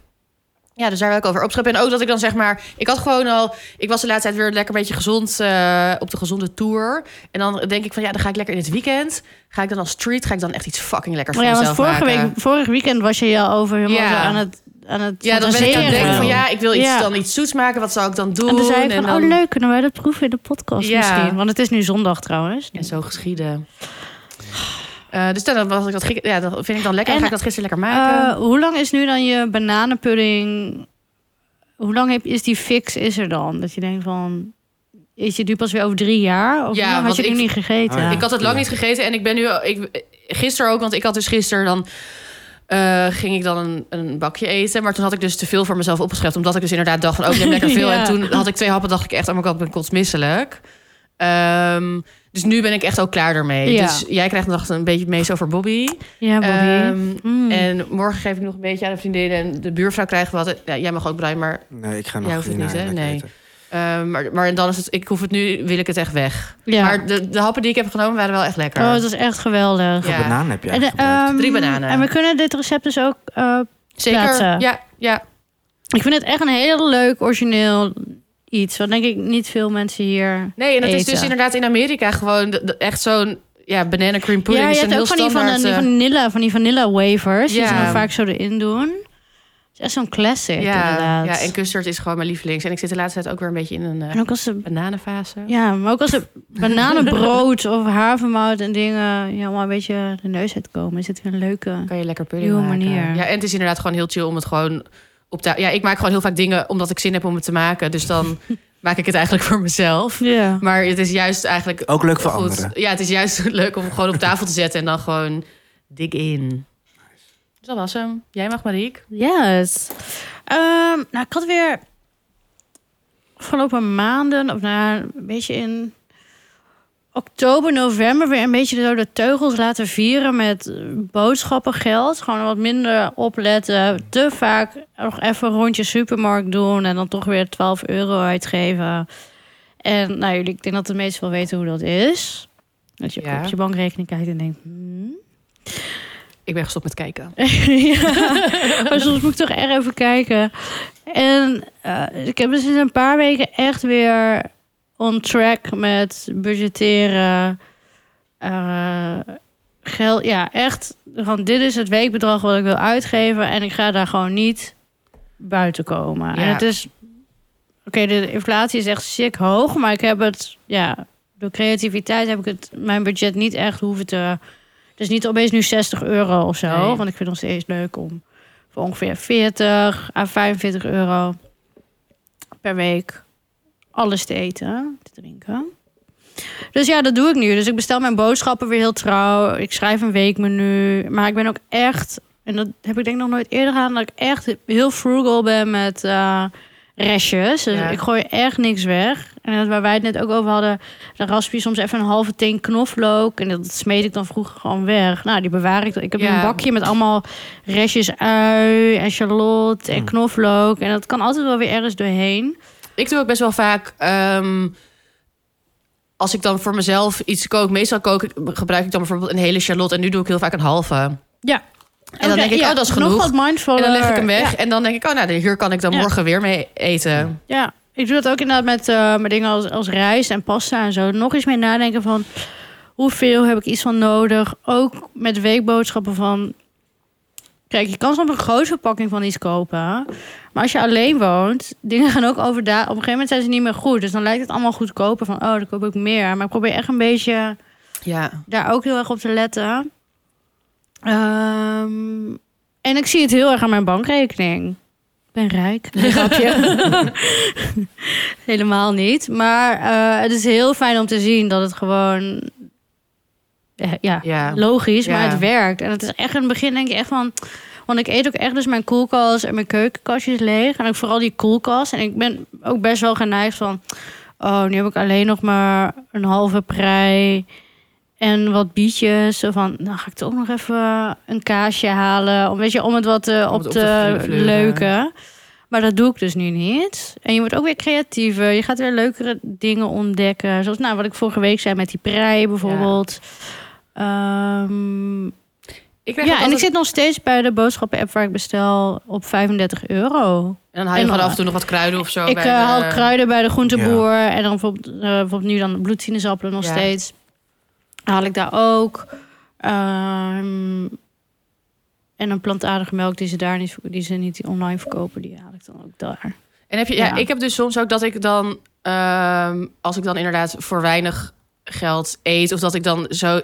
Speaker 1: Ja, dus daar wil ik over opscheppen. En ook dat ik dan zeg maar... Ik had gewoon al... Ik was de laatste tijd weer lekker een beetje gezond... eh, op de gezonde tour. En dan denk ik van... Ja, dan ga ik lekker in het weekend. Ga ik dan als street... Ga ik dan echt iets fucking lekkers
Speaker 2: maar
Speaker 1: voor
Speaker 2: ja want
Speaker 1: mezelf
Speaker 2: vorige
Speaker 1: maken.
Speaker 2: week, vorig weekend was je je over helemaal
Speaker 1: Ja.
Speaker 2: zo aan het aan het
Speaker 1: Ja, dan ben ik aan het
Speaker 2: fantaseren.
Speaker 1: denken van...
Speaker 3: Ja.
Speaker 1: Ja, ik wil iets,
Speaker 2: Ja.
Speaker 1: dan iets zoets maken. Wat zou ik dan doen?
Speaker 2: En toen zei ik
Speaker 1: En
Speaker 2: van,
Speaker 1: dan-
Speaker 2: oh leuk, kunnen wij dat proeven in de podcast
Speaker 1: Ja.
Speaker 2: misschien? Want het is nu zondag trouwens.
Speaker 1: En zo geschieden. Eh, dus dan was ik dat, gek- ja, dat vind ik dan lekker. Dan
Speaker 2: En,
Speaker 1: ga ik dat gisteren lekker maken.
Speaker 2: Eh, hoe lang is nu dan je bananenpudding? Hoe lang heb, is die fix is er dan? Dat je denkt van, is je nu pas weer over drie jaar? Of
Speaker 1: Ja,
Speaker 2: hoe lang
Speaker 1: want
Speaker 2: had je nu
Speaker 1: ik-
Speaker 2: niet gegeten?
Speaker 3: Oh ja.
Speaker 1: Ik had het lang
Speaker 3: Ja.
Speaker 1: niet gegeten en ik ben nu... Ik, gisteren ook, want ik had dus gisteren dan... eh, ging ik dan een, een bakje eten. Maar toen had ik dus te veel voor mezelf opgeschreven. Omdat ik dus inderdaad dacht van... Oh, ik neem lekker veel.
Speaker 2: Ja.
Speaker 1: En toen had ik twee happen, dacht ik echt... Oh mijn god, ik ben kotsmisselijk. Ehm, dus nu ben ik echt ook klaar ermee.
Speaker 2: Ja.
Speaker 1: Dus jij krijgt nog een beetje mees over Bobby.
Speaker 2: Ja, Bobby.
Speaker 1: Ehm,
Speaker 2: Mm.
Speaker 1: En morgen geef ik nog een beetje aan de vriendinnen. En de buurvrouw krijgt wat. Ja, jij mag ook, Brian, maar...
Speaker 3: Nee, ik ga nog
Speaker 1: Jij hoeft het
Speaker 3: hierna
Speaker 1: niet, hè?
Speaker 3: lekker
Speaker 1: Nee.
Speaker 3: eten.
Speaker 1: ehm, maar, maar dan is het... Ik hoef het nu, wil ik het echt weg.
Speaker 2: ja.
Speaker 1: Maar de, de happen die ik heb genomen waren wel echt lekker.
Speaker 2: oh, het was echt geweldig.
Speaker 1: Ja.
Speaker 3: Hoeveel bananen heb je
Speaker 2: En,
Speaker 3: eigenlijk gebruikt?
Speaker 2: ehm,
Speaker 1: Drie bananen.
Speaker 2: En we kunnen dit recept dus ook... eh,
Speaker 1: Zeker.
Speaker 2: plaatsen.
Speaker 1: Ja, ja.
Speaker 2: ik vind het echt een heel leuk, origineel iets. Wat denk ik niet veel mensen hier...
Speaker 1: Nee, en dat is
Speaker 2: eten.
Speaker 1: dus inderdaad in Amerika gewoon de- de- echt zo'n ja, banana cream pudding.
Speaker 2: ja,
Speaker 1: is
Speaker 2: je
Speaker 1: een
Speaker 2: hebt
Speaker 1: heel
Speaker 2: ook van die, van,
Speaker 1: standaard,
Speaker 2: een-
Speaker 1: eh,
Speaker 2: die vanilla, van die vanilla wafers.
Speaker 1: Ja.
Speaker 2: Die ze dan vaak zo erin doen. Het is echt zo'n classic
Speaker 1: eh, ja,
Speaker 2: inderdaad.
Speaker 1: ja, en custard is gewoon mijn lievelings. En ik zit de laatste tijd ook weer een beetje in een eh,
Speaker 2: En ook als ze,
Speaker 1: bananenfase.
Speaker 2: ja, maar ook als er bananenbrood of havermout en dingen ja, maar een beetje de neus uitkomen, is het weer een leuke.
Speaker 1: kan je lekker pudding
Speaker 2: Nieuwe
Speaker 1: maken.
Speaker 2: manier.
Speaker 1: Ja, en het is inderdaad gewoon heel chill om het gewoon op te... Ja, ik maak gewoon heel vaak dingen omdat ik zin heb om het te maken. Dus dan maak ik het eigenlijk voor mezelf.
Speaker 2: Ja.
Speaker 1: Maar het is juist eigenlijk...
Speaker 3: Ook leuk voor
Speaker 1: ehm, goed.
Speaker 3: anderen.
Speaker 1: Ja, het is juist leuk om gewoon op tafel te zetten en dan gewoon dig in. Dus dat was hem. Jij mag, Mariek.
Speaker 2: Yes. Ehm, nou, ik had weer afgelopen maanden, of na een beetje in oktober, november, weer een beetje zo de teugels laten vieren met eh, boodschappengeld. Gewoon wat minder opletten. Te vaak nog even een rondje supermarkt doen en dan toch weer 12 euro uitgeven. En nou, jullie, ik denk dat de meesten wel weten hoe dat is. Dat je
Speaker 1: Ja.
Speaker 2: op je bankrekening kijkt en denkt... hmm.
Speaker 1: Ik ben gestopt met kijken.
Speaker 2: ja, maar soms moet ik toch echt even kijken. En eh, ik heb dus sinds een paar weken echt weer on track met budgetteren. eh, geld, ja, echt. Gewoon, dit is het weekbedrag wat ik wil uitgeven. En ik ga daar gewoon niet buiten komen.
Speaker 1: Ja.
Speaker 2: En het is... Oké, de inflatie is echt sick hoog. Maar ik heb het... Ja, door creativiteit heb ik het, mijn budget niet echt hoeven te... Dus niet opeens nu 60 euro of zo.
Speaker 1: Nee.
Speaker 2: Want ik vind het nog steeds leuk om voor ongeveer 40 à 45 euro per week alles te eten, te drinken. Dus ja, dat doe ik nu. Dus ik bestel mijn boodschappen weer heel trouw. Ik schrijf een weekmenu. Maar ik ben ook echt, en dat heb ik denk ik nog nooit eerder gedaan, dat ik echt heel frugal ben met eh, restjes. Dus
Speaker 1: Ja.
Speaker 2: ik gooi echt niks weg. En dat waar wij het net ook over hadden, dan rasp je soms even een halve teen knoflook. En dat smeet ik dan vroeger gewoon weg. Nou, die bewaar ik. dan. Ik heb
Speaker 1: Ja.
Speaker 2: een bakje met allemaal restjes ui en shallot en
Speaker 1: Hm.
Speaker 3: Mm.
Speaker 2: knoflook. En dat kan altijd wel weer ergens doorheen.
Speaker 1: Ik doe ook best wel vaak. ehm, als ik dan voor mezelf iets kook, meestal kook ik, gebruik ik dan bijvoorbeeld een hele charlotte. En nu doe ik heel vaak een halve. En
Speaker 2: Ja.
Speaker 1: dan denk ik, oh, dat is genoeg.
Speaker 2: Nog wat mindful.
Speaker 1: dan leg ik hem weg. En dan denk ik, oh, nou, hier kan ik dan
Speaker 2: Ja.
Speaker 1: morgen weer mee eten.
Speaker 2: Ja, ik doe dat ook inderdaad met eh, mijn dingen als, als rijst en pasta en zo. Nog eens meer nadenken van hoeveel heb ik iets van nodig. Ook met weekboodschappen van Kijk, je kan soms een grote verpakking van iets kopen. Maar als je alleen woont, dingen gaan ook over daar. Op een gegeven moment zijn ze niet meer goed. Dus dan lijkt het allemaal goedkoper van, oh, dan koop ik meer. Maar ik probeer echt een beetje
Speaker 1: Ja.
Speaker 2: daar ook heel erg op te letten. Ehm, en ik zie het heel erg aan mijn bankrekening. Ik ben rijk. Nee, grapje. Helemaal niet. Maar eh, het is heel fijn om te zien dat het gewoon... eh, Ja,
Speaker 1: Ja.
Speaker 2: logisch, maar
Speaker 1: Ja.
Speaker 2: het werkt. En het is echt in het begin denk je echt van... Want ik eet ook echt dus mijn koelkast en mijn keukenkastjes leeg. En ook vooral die koelkast. En ik ben ook best wel geneigd van... Oh, nu heb ik alleen nog maar een halve prei en wat bietjes. Zo van, dan ga ik toch nog even een kaasje halen. Om, weet je, om het wat eh,
Speaker 1: Om
Speaker 2: op
Speaker 1: het op
Speaker 2: te
Speaker 1: te fleuren.
Speaker 2: leuken. Maar dat doe ik dus nu niet. En je wordt ook weer creatiever. Je gaat weer leukere dingen ontdekken. Zoals nou, wat ik vorige week zei met die prei bijvoorbeeld. Ehm,
Speaker 1: Ik krijg
Speaker 2: ja, en
Speaker 1: ook altijd-
Speaker 2: ik zit nog steeds bij de boodschappen-app waar ik bestel op 35 euro.
Speaker 1: En dan haal je
Speaker 2: en-
Speaker 1: gewoon af en toe nog wat kruiden of zo.
Speaker 2: ik
Speaker 1: Oh, bij
Speaker 2: eh,
Speaker 1: de-
Speaker 2: haal kruiden bij de groenteboer en dan bijvoorbeeld, eh, bijvoorbeeld nu dan bloedsinezappelen nog
Speaker 1: Ja.
Speaker 2: steeds. Haal ik daar ook. Ehm, en een plantaardige melk die ze daar niet, verko- die ze niet online verkopen, die haal ik dan ook daar.
Speaker 1: En heb je, ja,
Speaker 2: Ja.
Speaker 1: ik heb dus soms ook dat ik dan, ehm, als ik dan inderdaad voor weinig geld eet, of dat ik dan zo,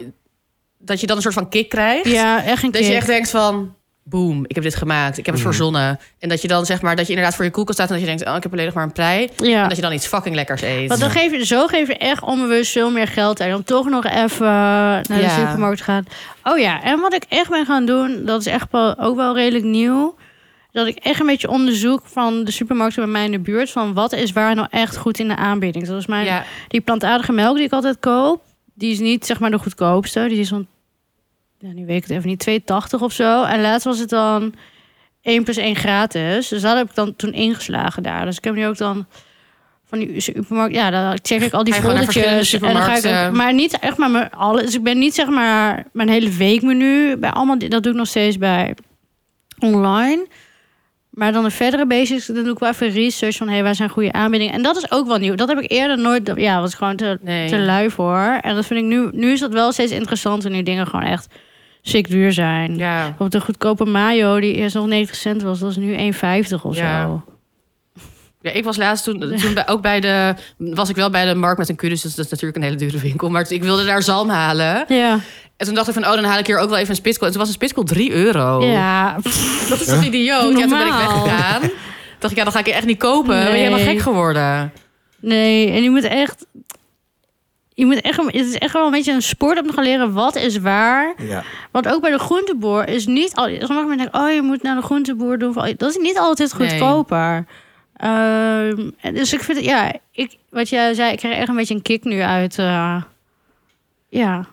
Speaker 1: dat je dan een soort van kick krijgt.
Speaker 2: Ja, echt een
Speaker 1: Dat je
Speaker 2: kick.
Speaker 1: echt denkt van, boem, ik heb dit gemaakt, ik heb het
Speaker 3: Mhm.
Speaker 1: verzonnen. En dat je dan zeg maar, dat je inderdaad voor je koelkast staat en dat je denkt, oh, ik heb alleen nog maar een prei. En
Speaker 2: Ja.
Speaker 1: dat je dan iets fucking lekkers eet.
Speaker 2: Want dan geef je, zo geef je echt onbewust veel meer geld uit. Om toch nog even naar de
Speaker 1: Ja.
Speaker 2: supermarkt te gaan. Oh ja, en wat ik echt ben gaan doen, dat is echt wel, ook wel redelijk nieuw. Dat ik echt een beetje onderzoek van de supermarkten bij mij in de buurt. Van wat is waar nou echt goed in de aanbieding. Zoals mijn,
Speaker 1: ja,
Speaker 2: die plantaardige melk die ik altijd koop. Die is niet zeg maar de goedkoopste. Die is zo'n, ja, nu weet ik het even niet, 2,80 of zo. En laatst was het dan 1 plus 1 gratis. Dus dat heb ik dan toen ingeslagen daar. Dus ik heb nu ook dan van die supermarkt... Ja, dan check ik al die
Speaker 1: Ga je gewoon naar
Speaker 2: foldertjes. En
Speaker 1: verschillende
Speaker 2: dan ga ik, ook-
Speaker 1: supermarkten.
Speaker 2: maar niet echt maar mijn alles. Dus ik ben niet zeg maar mijn hele weekmenu. Bij allemaal, di- dat doe ik nog steeds bij online. Maar dan de verdere basics, dan doe ik wel even research van... hé, hey, waar zijn goede aanbiedingen? En dat is ook wel nieuw. Dat heb ik eerder nooit... Ja, was ik gewoon te,
Speaker 1: nee.
Speaker 2: te lui voor. En dat vind ik nu... Nu is dat wel steeds interessanter... nu dingen gewoon echt ziek duur zijn.
Speaker 1: ja.
Speaker 2: Op de goedkope mayo, die eerst nog 90 cent was... dat is nu 1,50 of
Speaker 1: Ja.
Speaker 2: zo.
Speaker 1: Ja, ik was laatst toen, toen bij, ook bij de, was ik wel bij de markt met een kudus. Dus dat is natuurlijk een hele dure winkel. Maar ik wilde daar zalm halen.
Speaker 2: Ja,
Speaker 1: En toen dacht ik van, oh, dan haal ik hier ook wel even een spitskool. En toen was een spitskool 3 euro.
Speaker 2: ja. Pff,
Speaker 1: Dat is toch idioot? Ja, toen ben ik
Speaker 2: Normaal.
Speaker 1: weggegaan. Toen dacht ik, ja, dan ga ik je echt niet kopen. Ben je
Speaker 2: Nee.
Speaker 1: helemaal gek geworden?
Speaker 2: nee. En je moet echt... Je moet echt, het is echt wel een beetje een sport om te gaan leren wat is waar.
Speaker 3: Ja.
Speaker 2: Want ook bij de groenteboer is niet al. Sommige mensen denken, oh, je moet naar de groenteboer doen. Van, Dat is niet altijd
Speaker 1: Nee.
Speaker 2: goedkoper. Ehm, en dus ik vind het, ja, ik, wat jij zei, ik krijg echt een beetje een kick nu uit. eh, ja,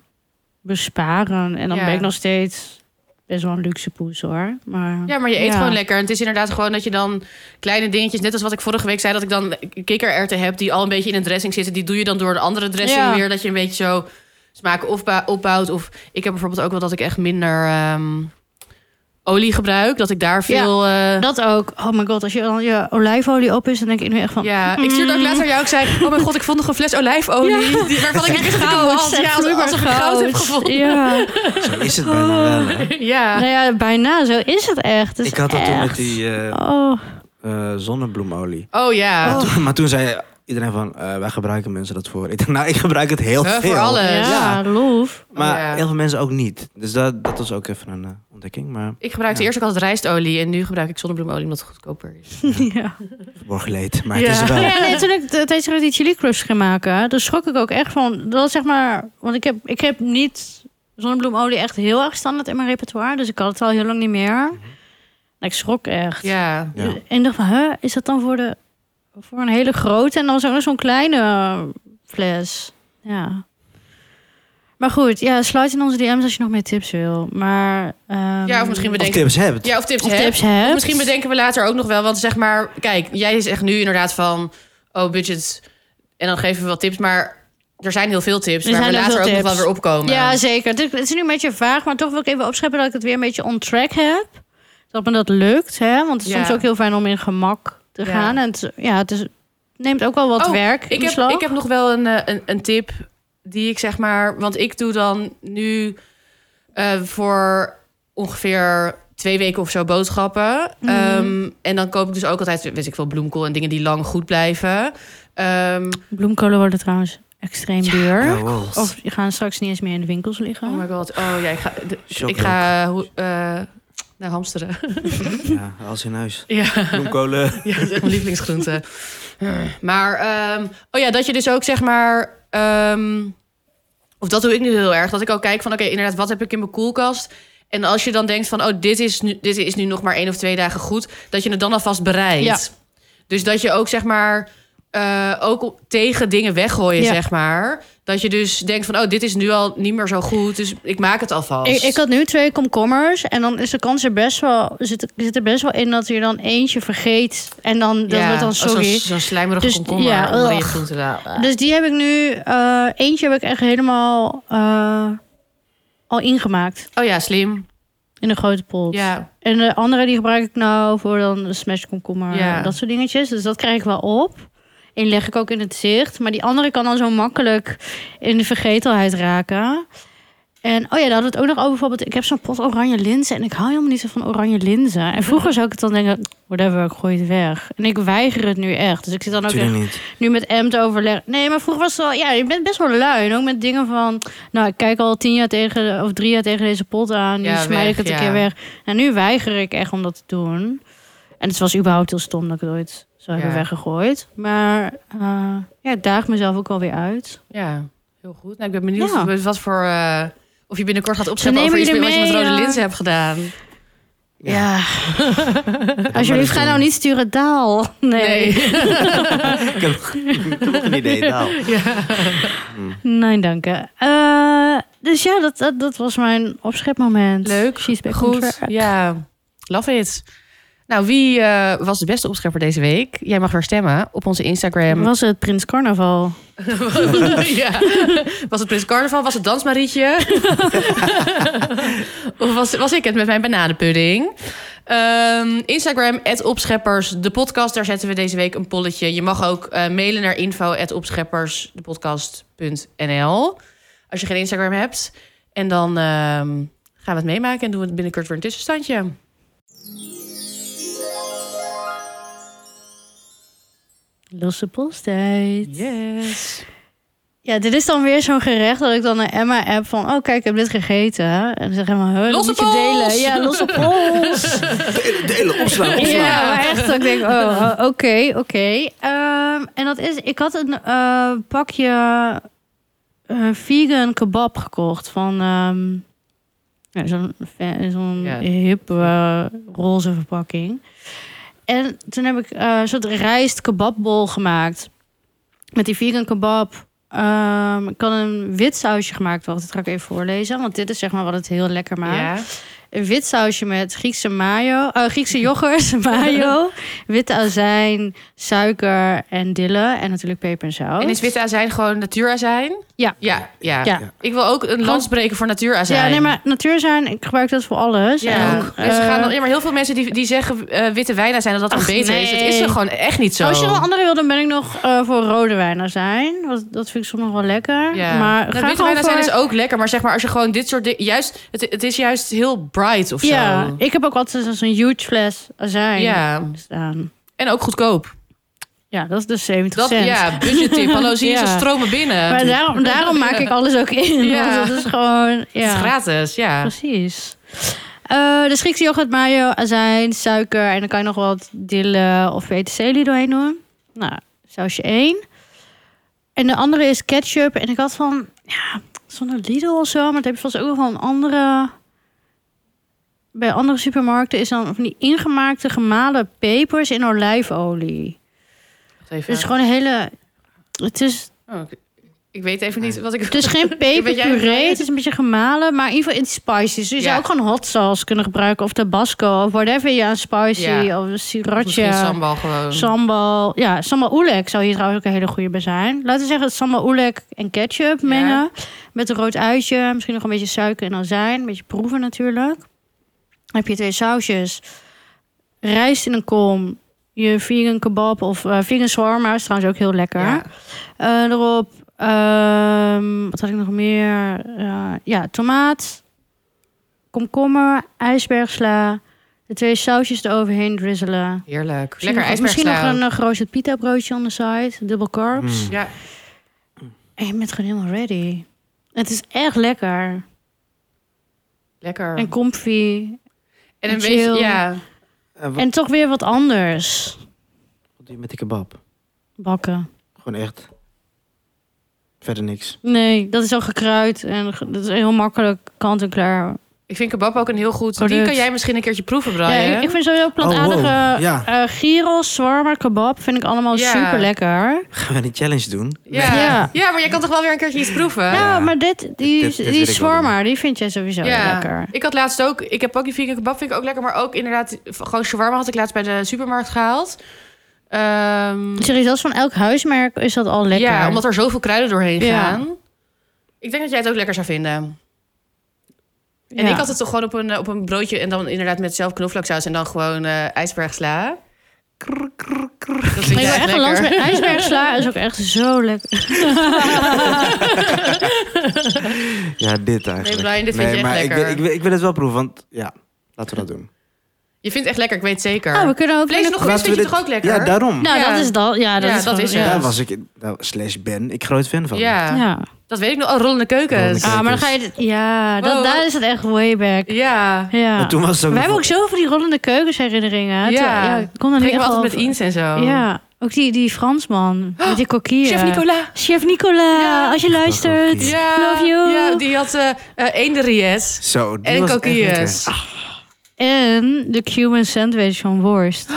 Speaker 2: besparen. En dan
Speaker 1: Ja.
Speaker 2: ben ik nog steeds best wel een luxe poes hoor. Maar,
Speaker 1: Ja, maar je eet
Speaker 2: Ja.
Speaker 1: gewoon lekker. En het is inderdaad gewoon dat je dan kleine dingetjes... Net als wat ik vorige week zei, dat ik dan kikkererwten heb... die al een beetje in een dressing zitten. Die doe je dan door een andere dressing
Speaker 2: Ja.
Speaker 1: weer. Dat je een beetje zo smaken opba- opbouwt. Of ik heb bijvoorbeeld ook wel dat ik echt minder ehm, olie gebruik. Dat ik daar veel... eh,
Speaker 2: dat ook. Oh my god, als je dan je olijfolie op is, dan denk ik nu echt van.
Speaker 1: Ja, ik stuurde ook later jou. Ik zei, oh mijn god, ik vond nog een fles olijfolie. Die, waarvan ik niet wist dat ik hem
Speaker 2: Goud,
Speaker 1: had.
Speaker 2: zeg,
Speaker 1: Ja, als,
Speaker 2: vloeibaar
Speaker 1: als ik goud heb gevonden.
Speaker 2: Ja.
Speaker 3: Zo is het bijna wel. hè.
Speaker 1: Ja.
Speaker 2: Nou ja, bijna zo is het echt. Het is
Speaker 3: Ik had dat toen met
Speaker 2: echt-
Speaker 3: die eh,
Speaker 2: Oh.
Speaker 3: eh, zonnebloemolie.
Speaker 1: Oh ja.
Speaker 3: Maar, toen, maar toen zei iedereen van, eh, wij gebruiken mensen dat voor. Ik dacht, nou, ik gebruik het heel
Speaker 1: Huh, voor
Speaker 3: veel.
Speaker 1: alles.
Speaker 2: Ja,
Speaker 3: Ja.
Speaker 2: loef.
Speaker 3: Maar
Speaker 1: Oh, ja.
Speaker 3: heel veel mensen ook niet. Dus dat, dat was ook even een eh, ontdekking. Maar
Speaker 1: Ik gebruikte
Speaker 3: Ja.
Speaker 1: eerst ook altijd rijstolie en nu gebruik ik zonnebloemolie omdat het goedkoper is.
Speaker 2: Ja.
Speaker 3: verborgen leed. Maar
Speaker 1: Ja.
Speaker 3: het is er wel.
Speaker 2: Ja, nee, toen ik de- tijdens dat ik die chili crusts ging maken, daar schrok ik ook echt van. Dat was zeg maar, want ik heb, ik heb niet zonnebloemolie echt heel erg standaard in mijn repertoire, dus ik had het al heel lang niet meer. En ik schrok echt.
Speaker 1: Mhm. Ja.
Speaker 3: Ja.
Speaker 2: En ik dacht van, huh, is dat dan voor, de, voor een hele grote en dan zo'n zo'n kleine eh, fles? Ja. Maar goed, ja, sluit in onze DM's als je nog meer tips wil. Maar, ehm,
Speaker 1: Ja, of misschien
Speaker 3: Of
Speaker 1: bedenken
Speaker 3: tips hebt.
Speaker 1: Ja, of tips
Speaker 2: of
Speaker 1: hebt.
Speaker 2: tips hebt.
Speaker 1: Of misschien bedenken we later ook nog wel. Want zeg maar, kijk, jij zegt nu inderdaad van... Oh, budget. En dan geven we wat tips. Maar er zijn heel veel tips
Speaker 2: Er
Speaker 1: waar we
Speaker 2: zijn heel
Speaker 1: later ook
Speaker 2: veel
Speaker 1: nog wel
Speaker 2: tips.
Speaker 1: weer opkomen.
Speaker 2: Ja, zeker. Het is- het is nu een beetje vaag, maar toch wil ik even opscheppen dat ik het weer een beetje on track heb. Dat me dat lukt, hè? Want het is
Speaker 1: Ja.
Speaker 2: soms ook heel fijn om in gemak te
Speaker 1: Ja.
Speaker 2: gaan. En het, ja, het is, het neemt ook wel wat
Speaker 1: Oh,
Speaker 2: werk
Speaker 1: Ik
Speaker 2: in
Speaker 1: heb,
Speaker 2: beslag.
Speaker 1: ik heb nog wel een, eh, een, een tip die ik zeg maar... Want ik doe dan nu eh, voor ongeveer twee weken of zo boodschappen.
Speaker 2: Mhm.
Speaker 1: Ehm, en dan koop ik dus ook altijd, weet ik veel, bloemkool en dingen die lang goed blijven. Ehm,
Speaker 2: Bloemkolen worden trouwens extreem duur.
Speaker 3: Ja, wow.
Speaker 2: Of die gaan straks niet eens meer in de winkels liggen.
Speaker 1: oh my god. Oh ja, ik ga, de-
Speaker 3: Shock
Speaker 1: ik ga hoe- eh, naar hamsteren.
Speaker 3: Ja, als in huis.
Speaker 1: ja.
Speaker 3: Bloemkolen.
Speaker 1: Ja, dat is echt mijn lievelingsgroente. Eh, Maar, ehm, oh ja, dat je dus ook zeg maar. ehm, of dat doe ik nu heel erg. Dat ik ook kijk van, oké, inderdaad, wat heb ik in mijn koelkast? En als je dan denkt van, oh, dit is nu, dit is nu nog maar één of twee dagen goed, dat je het dan alvast bereidt.
Speaker 2: Ja.
Speaker 1: Dus dat je ook zeg maar. eh, ook op- tegen dingen weggooien,
Speaker 2: Ja.
Speaker 1: zeg maar. Dat je dus denkt van, oh, dit is nu al niet meer zo goed, dus ik maak het alvast.
Speaker 2: Ik, ik had nu twee komkommers en dan is de kans er best wel, zit, zit er best wel in dat je dan eentje vergeet. En dan, dat
Speaker 1: Ja,
Speaker 2: wordt dan
Speaker 1: als zo'n-
Speaker 2: sorry.
Speaker 1: Zo'n slijmerige
Speaker 2: Dus-
Speaker 1: komkommer
Speaker 2: ja,
Speaker 1: onder je
Speaker 2: ugh.
Speaker 1: groentelaal.
Speaker 2: Dus die heb ik nu, eh, eentje heb ik echt helemaal eh, al ingemaakt
Speaker 1: Oh ja, slim.
Speaker 2: in een grote pot.
Speaker 1: Ja.
Speaker 2: En de andere die gebruik ik nou voor dan de smash komkommer,
Speaker 1: Ja.
Speaker 2: dat soort dingetjes. Dus dat krijg ik wel op. En leg ik ook in het zicht. Maar die andere kan dan zo makkelijk in de vergetelheid raken. En oh ja, daar hadden we het ook nog over. Bijvoorbeeld, ik heb zo'n pot oranje linzen. En ik hou helemaal niet zo van oranje linzen. En vroeger zou ik het dan denken, whatever, ik gooi het weg. En ik weiger het nu echt. Dus ik zit dan ook echt
Speaker 3: Natuurlijk niet.
Speaker 2: nu met M te overleggen. Nee, maar vroeger was het wel... Ja, je bent best wel lui. En ook met dingen van... Nou, ik kijk al tien jaar tegen... Of drie jaar tegen deze pot aan. Nu
Speaker 1: Ja,
Speaker 2: smijt
Speaker 1: weg,
Speaker 2: ik het
Speaker 1: ja.
Speaker 2: een keer weg. En nu weiger ik echt om dat te doen. En het was überhaupt heel stom dat ik het ooit zou hebben
Speaker 1: Ja.
Speaker 2: weggegooid. Maar eh, ja, ik daag mezelf ook alweer uit.
Speaker 1: Ja, heel goed. Nou, ik ben benieuwd
Speaker 2: Ja.
Speaker 1: met wat voor... eh, of je binnenkort gaat opschrijven
Speaker 2: Ze
Speaker 1: over
Speaker 2: nemen
Speaker 1: iets
Speaker 2: jullie
Speaker 1: wat je met
Speaker 2: mee, eh,
Speaker 1: rode
Speaker 2: ja.
Speaker 1: linzen hebt gedaan.
Speaker 2: Ja. Alsjeblieft, ga nou niet sturen daal. Nee. Nee,
Speaker 3: Ik heb nog- ik heb nog een idee. Nou.
Speaker 2: dank je. Eh, dus ja, dat, dat, dat was mijn opschepmoment.
Speaker 1: Leuk,
Speaker 2: She's back on
Speaker 1: Goed,
Speaker 2: track.
Speaker 1: ja. Love it. Nou, wie eh, was de beste opschepper deze week? Jij mag weer stemmen op onze Instagram.
Speaker 2: Was het Prins Carnaval?
Speaker 1: ja. Was het Prins Carnaval? Was het Dansmarietje? of was, was ik het met mijn bananenpudding? Ehm, Instagram, opscheppers, de podcast. Daar zetten we deze week een polletje. Je mag ook eh, mailen naar info opscheppers, Als je geen Instagram hebt. En dan ehm, gaan we het meemaken en doen we het binnenkort weer een tussenstandje.
Speaker 2: Losse posttijd.
Speaker 1: Yes.
Speaker 2: Ja, dit is dan weer zo'n gerecht dat ik dan naar Emma app van... Oh, kijk, ik heb dit gegeten. En dan zeg Emma, huh, dat
Speaker 1: Losse
Speaker 2: moet je
Speaker 1: pols!
Speaker 2: delen. Ja, losse pols.
Speaker 3: Delen, delen, opslaan, opslaan.
Speaker 2: ja, maar echt. dat Ik denk, oh, oh, oké, oké. Ehm, en dat is... Ik had een eh, pakje eh, vegan kebab gekocht van... ehm, ja, zo'n fa- zo'n
Speaker 1: Ja.
Speaker 2: hip eh, roze verpakking. En toen heb ik eh, een soort rijst kebabbol gemaakt. Met die vegan kebab. Ehm, ik had een wit sausje gemaakt. Wacht, dat ga ik even voorlezen. Want dit is zeg maar wat het heel lekker maakt.
Speaker 1: Ja.
Speaker 2: Een wit sausje met Griekse mayo, eh, Griekse yoghurt, mayo, witte azijn, suiker en dille. En natuurlijk peper en zout.
Speaker 1: En is witte azijn gewoon natuurazijn?
Speaker 2: Oh. Ja.
Speaker 1: Ja, ja.
Speaker 2: Ja.
Speaker 1: Ik wil ook een lans breken voor natuurazijn.
Speaker 2: Ja, nee, maar natuurzijn, ik gebruik dat voor alles.
Speaker 1: Ja,
Speaker 2: En,
Speaker 1: en ze
Speaker 2: eh,
Speaker 1: gaan dan, ja, maar heel veel mensen die, die zeggen eh, witte wijnen zijn dat dat
Speaker 2: Ach,
Speaker 1: dan beter is. Dat is
Speaker 2: nee.
Speaker 1: er gewoon echt niet zo.
Speaker 2: Als je wel andere wil, dan ben ik nog eh, voor rode wijnen zijn. Want dat vind ik soms nog wel lekker.
Speaker 1: ja.
Speaker 2: Maar
Speaker 1: Nou, witte
Speaker 2: ga gewoon
Speaker 1: wijnen zijn
Speaker 2: voor-
Speaker 1: is ook lekker, maar zeg maar als je gewoon dit soort dingen... Juist, het, het is juist heel bright of zo.
Speaker 2: Ja, ik heb ook altijd zo'n huge fles azijn
Speaker 1: Ja.
Speaker 2: staan.
Speaker 1: En ook goedkoop.
Speaker 2: Ja, dat is dus 70
Speaker 1: Dat,
Speaker 2: cent.
Speaker 1: ja, budgettip. Hallo, zie je,
Speaker 2: Ja.
Speaker 1: ze stromen binnen.
Speaker 2: Maar daarom, daarom maak ik alles ook in.
Speaker 1: Ja.
Speaker 2: Want dat is gewoon...
Speaker 1: Het is
Speaker 2: Ja. Dus-
Speaker 1: gratis, ja.
Speaker 2: Precies. Eh dus Griekse yoghurt, mayo, azijn, suiker. En dan kan je nog wat dille of peterselie doorheen doen. Nou, sausje één. En de andere is ketchup. En ik had van, ja, zonder Lidl of zo. Maar dat heb je vast ook wel van een andere... Bij andere supermarkten is dan van die ingemaakte gemalen pepers in olijfolie.
Speaker 1: Wacht even.
Speaker 2: Het is gewoon een hele... Het is,
Speaker 1: Oh, ik- ik weet even niet wat ik...
Speaker 2: het is geen peperpuree, het is een beetje gemalen, maar in ieder geval in spices. Dus je
Speaker 1: Ja.
Speaker 2: zou ook gewoon hot sauce kunnen gebruiken of tabasco of whatever je aan spicy
Speaker 1: Ja.
Speaker 2: of
Speaker 1: Of misschien
Speaker 2: sriracha.
Speaker 1: sambal gewoon.
Speaker 2: Sambal, ja, sambal oelek zou hier trouwens ook een hele goede bij zijn. Laten we zeggen sambal oelek en ketchup
Speaker 1: Ja.
Speaker 2: mengen. Met een rood uitje, misschien nog een beetje suiker en azijn. Een beetje proeven natuurlijk. Dan heb je twee sausjes. Rijst in een kom. Je vegan kebab of eh, vegan shawarma is trouwens ook heel lekker.
Speaker 1: Ja.
Speaker 2: Eh, erop. ehm, wat had ik nog meer? Eh, ja, tomaat. komkommer, ijsbergsla. De twee sausjes eroverheen drizzelen.
Speaker 1: Heerlijk.
Speaker 2: Misschien
Speaker 1: Lekker
Speaker 2: nog- Misschien nog
Speaker 1: ijsbergsla.
Speaker 2: een eh, geroost pita broodje on the side. Dubbel carbs.
Speaker 3: Mm.
Speaker 1: Ja,
Speaker 2: En je bent gewoon helemaal ready. Het is echt lekker.
Speaker 1: lekker.
Speaker 2: En comfy.
Speaker 1: En een
Speaker 2: chill.
Speaker 1: beetje, ja.
Speaker 3: En wat
Speaker 2: En toch weer wat anders.
Speaker 3: doe je met die kebab?
Speaker 2: Bakken.
Speaker 3: Gewoon echt. Verder niks.
Speaker 2: Nee, dat is al gekruid. En ge- dat is heel makkelijk kant en klaar.
Speaker 1: Ik vind kebab ook een heel goed... Die
Speaker 2: Product.
Speaker 1: kan jij misschien een keertje proeven, Brian.
Speaker 2: Ja, ik, ik vind sowieso plantaardige
Speaker 3: Oh, wow.
Speaker 2: eh
Speaker 3: Ja.
Speaker 2: gyros, zwarma, kebab vind ik allemaal
Speaker 1: Ja.
Speaker 2: super lekker.
Speaker 3: Gaan we een challenge doen?
Speaker 1: ja.
Speaker 2: Ja.
Speaker 1: Ja, maar jij kan toch wel weer een keertje iets proeven?
Speaker 2: Ja, maar dit, die,
Speaker 3: dit- dit wil
Speaker 2: die
Speaker 3: ik wel
Speaker 2: shawarma, die vind jij sowieso lekker.
Speaker 1: Ik had laatst ook, ik heb ook die vegan kebab, vind ik ook lekker, maar ook inderdaad, gewoon shawarma had ik laatst bij de supermarkt gehaald. Ehm,
Speaker 2: Sorry, zelfs van elk huismerk is dat al lekker.
Speaker 1: ja, omdat er zoveel kruiden doorheen
Speaker 2: Ja.
Speaker 1: gaan. Ik denk dat jij het ook lekker zou vinden. En
Speaker 2: Ja.
Speaker 1: ik had het toch gewoon op een, eh, op een broodje en dan inderdaad met zelf knoflooksaus en dan gewoon eh ijsbergsla. Krr, krr, krr. Dat vind
Speaker 2: Maar ik
Speaker 1: jij
Speaker 2: wil echt een lans met Dus- ijsbergsla. is ook echt zo lekker.
Speaker 3: Ja, dit eigenlijk.
Speaker 1: Brian, dit vind je echt
Speaker 3: maar
Speaker 1: lekker.
Speaker 3: Ik wil, ik, wil, ik wil het wel proeven, want ja, laten we dat doen.
Speaker 1: Je vindt het echt lekker, ik weet het zeker.
Speaker 2: Ah, we kunnen ook...
Speaker 1: Vlees
Speaker 2: binnen-
Speaker 1: nog vis
Speaker 3: Laten we
Speaker 1: vind je
Speaker 3: dit-
Speaker 1: toch ook lekker?
Speaker 3: Ja, daarom.
Speaker 2: Nou,
Speaker 1: Ja.
Speaker 2: dat is dat. Ja, dat
Speaker 1: Ja,
Speaker 2: is,
Speaker 1: dat
Speaker 2: gewoon-
Speaker 1: is het.
Speaker 2: ja.
Speaker 3: Daar was ik, nou, slash ben, ik groot fan van.
Speaker 1: ja.
Speaker 2: Ja.
Speaker 1: dat weet ik nog. Oh, rollende keukens.
Speaker 3: Rollende
Speaker 2: Ah, maar dan ga je... Ja, dat,
Speaker 1: Wow.
Speaker 2: daar is het echt way back.
Speaker 1: Ja.
Speaker 2: Ja.
Speaker 3: Maar toen was het ook
Speaker 2: We
Speaker 3: nog
Speaker 2: hebben ook zoveel die rollende keukensherinneringen.
Speaker 1: Ja.
Speaker 2: Ja. ja ik kon er niet
Speaker 1: Gingen
Speaker 2: echt
Speaker 1: we altijd met
Speaker 2: over.
Speaker 1: Eens en zo.
Speaker 2: Ja, ook die, die Fransman. Met die kokkie.
Speaker 1: Chef Nicolas.
Speaker 2: Chef Nicola,
Speaker 1: Ja.
Speaker 2: als je luistert.
Speaker 3: kokkie.
Speaker 2: Love you.
Speaker 1: eh, Ja, die had eh eh eenderries.
Speaker 3: Zo, die
Speaker 1: En
Speaker 3: was echt
Speaker 1: coquilles.
Speaker 3: lekker.
Speaker 2: En de Cuban sandwich van worst.
Speaker 1: Toen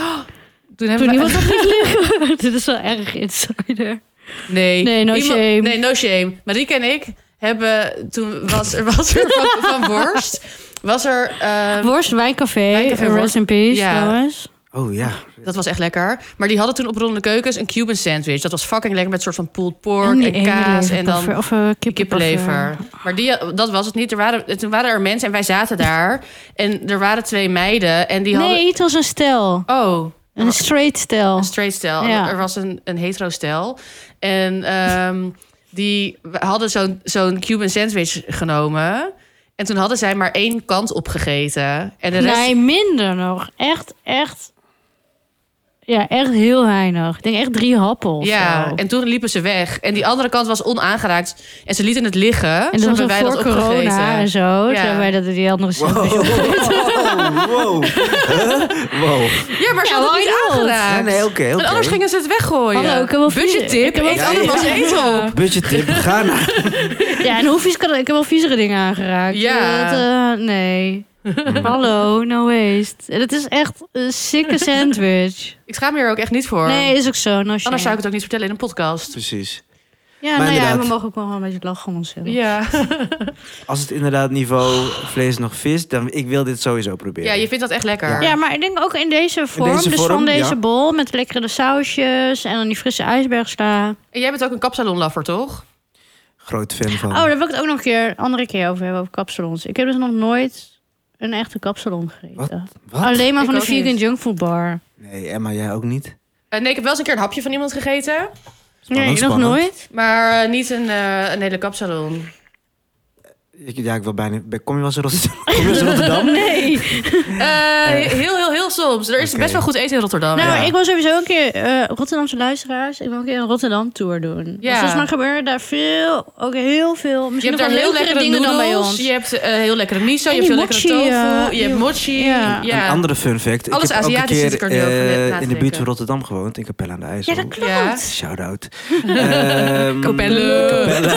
Speaker 2: Toen
Speaker 1: hebben we...
Speaker 2: iemand dat niet liggen. Dit is wel erg insider.
Speaker 1: Nee.
Speaker 2: Nee, no shame.
Speaker 1: Nee, no shame. Marieke en ik hebben... Toen was er, was er van, van worst... Was er... eh,
Speaker 2: Worst Wijncafé.
Speaker 1: Wijncafé,
Speaker 2: Rest
Speaker 1: Worst.
Speaker 2: in peace
Speaker 1: Ja.
Speaker 2: trouwens.
Speaker 3: Oh ja.
Speaker 1: dat was echt lekker. Maar die hadden toen op Ronde Keukens een Cuban sandwich. Dat was fucking lekker met soort van pulled pork en,
Speaker 2: die ene
Speaker 1: kaas. En dan
Speaker 2: leverpoffer, Of eh, kippenpoffer.
Speaker 1: kippenlever. Maar die, dat was het niet. Er waren, toen waren er mensen en wij zaten daar. En er waren twee meiden. En die hadden...
Speaker 2: Nee, het was een stel.
Speaker 1: Oh,
Speaker 2: Een straight stel.
Speaker 1: Een straight stijl.
Speaker 2: Ja.
Speaker 1: Er was een, een hetero stijl. En ehm, die we hadden zo'n zo'n Cuban sandwich genomen. En toen hadden zij maar één kant opgegeten. En de rest...
Speaker 2: Nee, minder nog. Echt, echt... Ja, echt heel weinig. Ik denk echt drie happen of
Speaker 1: Ja,
Speaker 2: zo.
Speaker 1: en toen liepen ze weg. En die andere kant was onaangeraakt. En ze lieten het liggen.
Speaker 2: En
Speaker 1: Zo
Speaker 2: dat was
Speaker 1: hebben
Speaker 2: ook
Speaker 1: wij
Speaker 2: voor
Speaker 1: dat opgegeten.
Speaker 2: corona Dus- en zo.
Speaker 1: Ja.
Speaker 2: Ja. wij dat die andere
Speaker 3: Wow.
Speaker 2: sandwich.
Speaker 3: wow. Huh? wow.
Speaker 1: Ja, maar ze
Speaker 2: Ja,
Speaker 1: hadden
Speaker 2: why
Speaker 1: het niet
Speaker 2: not?
Speaker 1: aangeraakt.
Speaker 3: Ja, nee, oké, oké.
Speaker 1: En anders gingen ze het weggooien.
Speaker 2: Hallo, Oh, ik heb wel vies-
Speaker 1: Oh Budgettip,
Speaker 2: ik heb wel
Speaker 1: eet
Speaker 2: vies-
Speaker 1: andermans
Speaker 2: Ja.
Speaker 1: eten op.
Speaker 3: Budgettip, ga naar...
Speaker 2: Ja, en hoe vies kan dat? Ik heb wel viezere dingen aangeraakt.
Speaker 1: Ja.
Speaker 2: Dat, eh, nee. Hallo, no waste. En Het is echt een sikke sandwich.
Speaker 1: Ik schaam me hier ook echt niet voor.
Speaker 2: Nee, is ook zo. No shame.
Speaker 1: Anders zou ik het ook niet vertellen in een podcast.
Speaker 3: Precies.
Speaker 2: Ja,
Speaker 3: Maar
Speaker 2: nou ja,
Speaker 3: inderdaad.
Speaker 2: we mogen ook wel een beetje lachen om onszelf.
Speaker 1: Ja.
Speaker 3: Als het inderdaad niveau vlees nog vis, dan ik wil dit sowieso proberen.
Speaker 1: ja, je vindt dat echt lekker.
Speaker 2: Ja, maar ik denk ook in deze vorm.
Speaker 3: deze
Speaker 2: dus
Speaker 3: vorm,
Speaker 2: van deze
Speaker 3: ja.
Speaker 2: bol met lekkere sausjes en dan die frisse
Speaker 3: Oh.
Speaker 2: ijsbergsla.
Speaker 1: En jij bent ook een kapsalonlaffer, toch?
Speaker 3: Groot fan van.
Speaker 2: Oh, daar wil ik het ook nog een keer, andere keer over hebben, over kapsalons. Ik heb dus nog nooit een echte kapsalon gegeten.
Speaker 3: Wat?
Speaker 2: Alleen maar
Speaker 1: Ik
Speaker 2: van de
Speaker 1: ook
Speaker 2: vegan
Speaker 1: niet.
Speaker 2: junkfood bar.
Speaker 3: Nee, Emma, jij ook niet?
Speaker 1: Eh, nee, ik heb wel eens een keer een hapje van iemand gegeten.
Speaker 2: nee, nog
Speaker 3: spannend.
Speaker 2: nooit.
Speaker 1: Maar eh, niet een, eh, een hele kapsalon.
Speaker 3: Ik, ja, ik wil bijna... Kom je wel eens in Rotterdam? Kom je wel eens in Rotterdam? Oh,
Speaker 2: Nee.
Speaker 1: Eh, heel, heel, heel soms. Er is
Speaker 3: Oké.
Speaker 1: best wel goed eten in Rotterdam.
Speaker 2: Nou,
Speaker 3: Ja.
Speaker 2: ik wil sowieso een keer eh, Rotterdamse luisteraars. Ik wil een keer een Rotterdam tour doen.
Speaker 1: Ja.
Speaker 2: Ja. Volgens mij gebeuren daar veel, ook heel veel,
Speaker 1: je
Speaker 2: misschien
Speaker 1: hebt daar
Speaker 2: nog wel
Speaker 1: heel
Speaker 2: leukere
Speaker 1: lekkere
Speaker 2: dingen dan bij
Speaker 1: noedels,
Speaker 2: ons.
Speaker 1: Je hebt eh, heel lekkere miso.
Speaker 2: En
Speaker 1: Je hebt heel
Speaker 2: die
Speaker 1: lekkere
Speaker 2: mochi,
Speaker 1: tofu.
Speaker 2: eh,
Speaker 1: je hebt
Speaker 2: die-
Speaker 1: mochi. Ja.
Speaker 2: ja.
Speaker 3: Een andere fun fact. Ik
Speaker 1: Alles
Speaker 3: heb ook een
Speaker 1: Aziatisch
Speaker 3: keer
Speaker 1: zit ik er nu over
Speaker 3: eh,
Speaker 1: net na te
Speaker 3: in de buurt
Speaker 1: denken.
Speaker 3: van Rotterdam gewoond, in Capelle aan de IJssel.
Speaker 2: Ja, dat klopt.
Speaker 1: Ja.
Speaker 3: Shout-out. Ehm,
Speaker 1: Capelle.
Speaker 3: Capelle.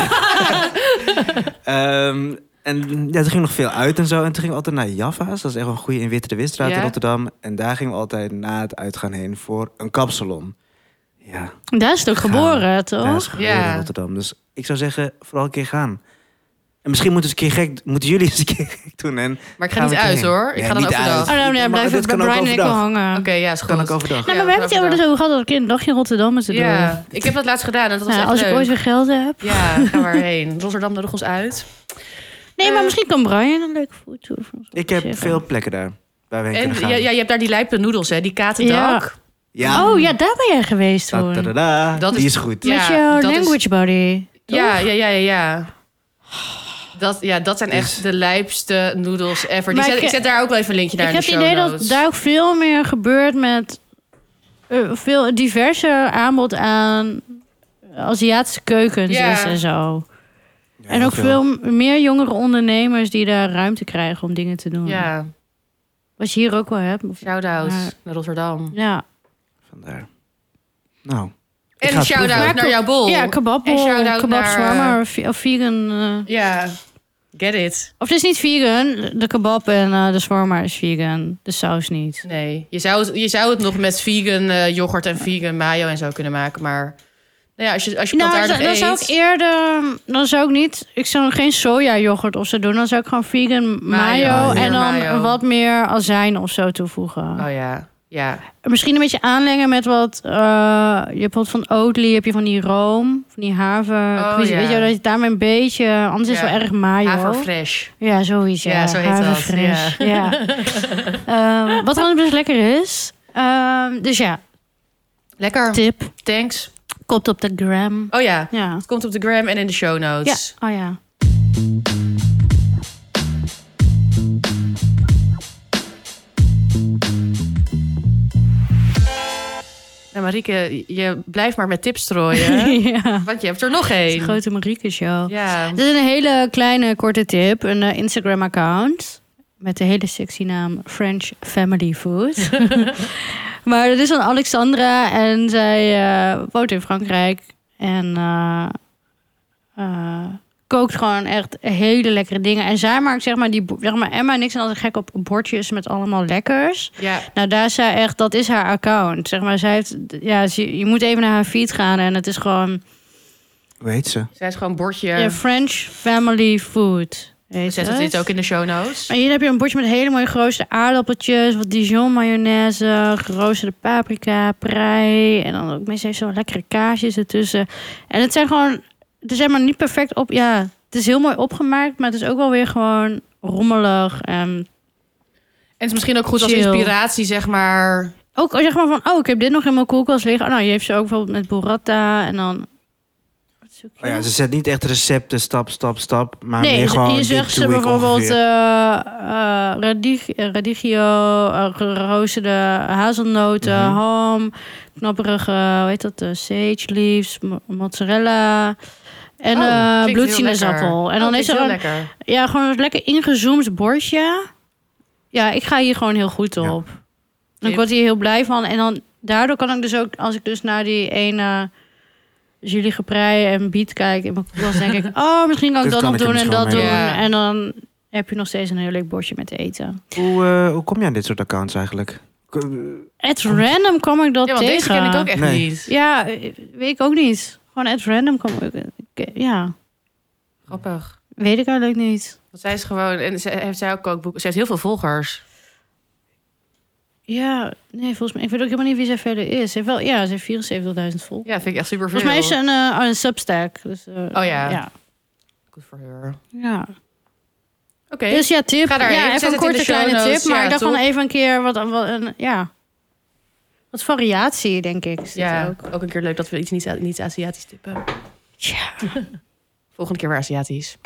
Speaker 3: Ehm, en ja, er ging nog veel uit en zo. En toen gingen we altijd naar Java's. Dat is echt wel een goede in Witte de Witstraat
Speaker 1: Ja.
Speaker 3: in Rotterdam. En daar gingen we altijd na het uitgaan heen voor een kapsalon. Ja,
Speaker 2: Daar is het ook
Speaker 3: Gaan.
Speaker 2: geboren, toch?
Speaker 3: daar is geboren
Speaker 1: Ja.
Speaker 3: in Rotterdam. Dus ik zou zeggen, vooral een keer gaan. En misschien moeten, we eens een keer gek, moeten jullie eens een keer gek doen. En
Speaker 1: Maar ik ga
Speaker 3: Gaan
Speaker 1: niet
Speaker 3: we
Speaker 1: uit,
Speaker 3: heen.
Speaker 1: hoor. Ik
Speaker 3: Nee,
Speaker 1: ga dan
Speaker 3: niet
Speaker 1: overdag.
Speaker 3: uit.
Speaker 1: Oké,
Speaker 2: Oh, nou, nee,
Speaker 3: Maar
Speaker 2: blijf
Speaker 3: dit
Speaker 2: ik bij
Speaker 3: kan ook
Speaker 2: Brian en ik wel
Speaker 3: overdag.
Speaker 2: hangen.
Speaker 1: ja, is goed.
Speaker 3: kan ik overdag.
Speaker 2: Nee,
Speaker 1: Ja,
Speaker 2: maar we hebben het
Speaker 1: overdag.
Speaker 2: over zo gehad dat ik een dagje in Rotterdam met te doen.
Speaker 1: Ja, ik heb dat laatst gedaan en dat was
Speaker 2: Nou,
Speaker 1: echt
Speaker 2: als
Speaker 1: leuk.
Speaker 2: ik ooit weer geld heb.
Speaker 1: Ja, ga maar heen. Rotterdam nodig ons uit.
Speaker 2: Nee, maar
Speaker 1: Eh.
Speaker 2: misschien kan Brian een leuke food tour voor ons
Speaker 3: Ik heb
Speaker 2: organiseren.
Speaker 3: veel plekken daar waar we heen
Speaker 1: En
Speaker 3: kunnen gaan.
Speaker 1: ja, ja, je hebt daar die lijpe noedels, hè? Die katendak.
Speaker 3: Ja.
Speaker 2: Oh ja, daar ben jij geweest toen. Met
Speaker 3: Ta-ta-da-da.
Speaker 1: Dat
Speaker 3: Die
Speaker 1: is-
Speaker 3: is goed.
Speaker 1: Ja,
Speaker 2: jouw
Speaker 1: dat is-
Speaker 2: language buddy.
Speaker 1: Ja, ja, ja, ja. ja. Dat, ja, dat zijn echt
Speaker 3: Dus-
Speaker 1: de lijpste noedels ever. Die
Speaker 2: Maar
Speaker 1: zet,
Speaker 2: ik-
Speaker 1: ik, zet daar ook wel even een linkje naar
Speaker 2: ik
Speaker 1: in
Speaker 2: heb
Speaker 1: de
Speaker 2: het
Speaker 1: show
Speaker 2: idee dat
Speaker 1: notes.
Speaker 2: daar ook veel meer gebeurt met eh, veel diverser aanbod aan Aziatische keukens
Speaker 1: Ja.
Speaker 2: is en zo. en ook veel m- meer jongere ondernemers die daar ruimte krijgen om dingen te doen.
Speaker 1: Ja,
Speaker 2: Wat je hier ook wel hebt. of-
Speaker 1: shout-out
Speaker 2: Ja.
Speaker 1: naar Rotterdam.
Speaker 2: Ja,
Speaker 3: Vandaar. Nou. Ik
Speaker 1: En
Speaker 3: ga
Speaker 1: een
Speaker 3: het
Speaker 1: shout-out
Speaker 3: proeven.
Speaker 1: naar jouw bol.
Speaker 2: ja kebab,
Speaker 1: Oh.
Speaker 2: eh,
Speaker 1: En shout-out
Speaker 2: kebab
Speaker 1: naar, eh,
Speaker 2: shawarma of ve- of vegan. eh.
Speaker 1: Ja, get it.
Speaker 2: Of het is niet vegan, de kebab en eh, de shawarma is vegan. De saus niet.
Speaker 1: Nee, je zou het, je zou het nog met vegan eh, yoghurt en vegan mayo en zo kunnen maken. Maar nou ja, als je, als je
Speaker 2: Nou,
Speaker 1: plantaardig
Speaker 2: dan, dan
Speaker 1: eet...
Speaker 2: zou ik eerder... ehm, Dan zou ik niet... Ik zou geen soja yoghurt of zo doen. Dan zou ik gewoon vegan mayo,
Speaker 3: Mayo.
Speaker 2: en dan
Speaker 1: Mayo.
Speaker 2: wat meer azijn of zo toevoegen.
Speaker 1: Oh ja, ja.
Speaker 2: Misschien een beetje aanlengen met wat... eh, je hebt wat van Oatly, heb je van die room, van die haver.
Speaker 1: Oh,
Speaker 2: weet je-
Speaker 1: ja.
Speaker 2: Weet je, dat je daarmee een beetje... Anders is
Speaker 1: Ja.
Speaker 2: het wel erg mayo.
Speaker 1: Haverfresh.
Speaker 2: Ja, zoiets. Ja,
Speaker 1: Ja, zo heet dat,
Speaker 2: Haverfris, Ja. Ehm, wat dan dus lekker is. Ehm, dus ja,
Speaker 1: Lekker.
Speaker 2: tip.
Speaker 1: Thanks.
Speaker 2: Kopt op de gram.
Speaker 1: Oh ja,
Speaker 2: Ja.
Speaker 1: het komt op de gram en in de show
Speaker 2: Ja.
Speaker 1: notes.
Speaker 2: Oh ja.
Speaker 1: Nou Marieke, je blijft maar met tips strooien.
Speaker 2: ja.
Speaker 1: want je hebt er nog
Speaker 2: De
Speaker 1: één.
Speaker 2: grote Marieke show.
Speaker 1: Ja.
Speaker 2: Dit is een hele kleine korte tip. Een eh, Instagram account. Met de hele sexy naam French Family Food. maar dat is van Alexandra. En zij eh, woont in Frankrijk. En eh, eh, kookt gewoon echt hele lekkere dingen. En zij maakt zeg maar die... bo- Zeg maar, Emma en ik zijn altijd gek op bordjes met allemaal lekkers.
Speaker 1: ja.
Speaker 2: Nou, daar is zij echt, dat is haar account. Zeg maar, zij heeft, ja, ze- je moet even naar haar feed gaan en het is gewoon
Speaker 3: Weet ze.
Speaker 1: Zij is gewoon bordje.
Speaker 2: ja, French Family Food.
Speaker 1: We
Speaker 2: Heet
Speaker 1: zetten
Speaker 2: het.
Speaker 1: dit ook in de show notes.
Speaker 2: En hier heb je een bordje met hele mooie geroosterde aardappeltjes, wat Dijon mayonaise, geroosterde paprika, prei en dan ook meestal heeft ze wel lekkere kaasjes ertussen. En het zijn gewoon, het zijn maar niet perfect op, ja, het is heel mooi opgemaakt, maar het is ook wel weer gewoon rommelig Ehm, en
Speaker 1: En het is misschien ook goed als
Speaker 2: Chill.
Speaker 1: inspiratie, zeg maar.
Speaker 2: ook zeg maar van, oh, ik heb dit nog in mijn koelkast liggen. Oh, nou, je heeft ze ook bijvoorbeeld met burrata en dan... Wat zoek je?
Speaker 3: Oh ja, ze zet niet echt recepten stap, stap, stap. Maar
Speaker 2: nee,
Speaker 3: meer
Speaker 2: ze-
Speaker 3: gewoon
Speaker 2: hier
Speaker 3: dit
Speaker 2: zegt ze
Speaker 3: doe ik
Speaker 2: bijvoorbeeld
Speaker 3: ongeveer.
Speaker 2: eh, eh, radig- eh, radicchio, eh, geroosterde hazelnoten,
Speaker 3: Mhm.
Speaker 2: ham, knapperige, hoe heet dat, eh, sage leaves, mo- mozzarella... En
Speaker 1: Oh,
Speaker 2: eh
Speaker 1: klinkt heel
Speaker 2: bloedsinezappel.
Speaker 1: lekker.
Speaker 2: En dan
Speaker 1: Oh,
Speaker 2: is er
Speaker 1: klinkt
Speaker 2: een,
Speaker 1: heel lekker.
Speaker 2: ja, gewoon een lekker ingezoomd bordje. Ja, ik ga hier gewoon heel goed
Speaker 3: Ja.
Speaker 2: op. En Ik word hier heel blij van. En dan daardoor kan ik dus ook, als ik dus naar die ene Julie Geprei en Beat kijk in mijn koelkast, denk ik, oh, misschien kan ik
Speaker 3: Dit
Speaker 2: dat
Speaker 3: kan
Speaker 2: nog
Speaker 3: ik er
Speaker 2: doen en
Speaker 3: misschien
Speaker 2: dat doen.
Speaker 3: wel
Speaker 1: mee doen. Ja.
Speaker 2: En dan heb je nog steeds een heel leuk bordje met eten.
Speaker 3: Hoe, eh, hoe kom je aan dit soort accounts eigenlijk? K- eh,
Speaker 2: At random kom ik dat
Speaker 1: Ja, want
Speaker 2: tegen.
Speaker 1: deze ken ik ook echt
Speaker 3: Nee.
Speaker 1: niet.
Speaker 2: Ja, eh, weet ik ook niet. Gewoon at random kom ik. ik- Ja,
Speaker 1: Grappig.
Speaker 2: weet ik eigenlijk niet.
Speaker 1: Want zij is gewoon... En ze heeft zij ook kookboek. Ze heeft heel veel volgers.
Speaker 2: Ja, nee, volgens mij. Ik weet ook helemaal niet wie zij verder is. Ze heeft wel, ja, ze heeft 74.000 volgers.
Speaker 1: Ja, vind ik echt super veel.
Speaker 2: Volgens mij is ze een, eh, een substack. Dus, eh,
Speaker 1: Oh ja.
Speaker 2: ja.
Speaker 1: Goed voor haar.
Speaker 2: Ja.
Speaker 1: Oké.
Speaker 2: Dus ja, tip.
Speaker 1: Ga daarheen.
Speaker 2: ja,
Speaker 1: Zet het
Speaker 2: even een
Speaker 1: in
Speaker 2: korte
Speaker 1: de show
Speaker 2: kleine
Speaker 1: notes.
Speaker 2: tip. Maar
Speaker 1: Ja,
Speaker 2: ik dacht
Speaker 1: top.
Speaker 2: gewoon even een keer wat, wat een, ja. Wat variatie, denk ik. is dit
Speaker 1: ja,
Speaker 2: ook.
Speaker 1: ook. een keer leuk dat we iets niet, niet Aziatisch tippen.
Speaker 2: Tja.
Speaker 1: Volgende keer weer Aziatisch.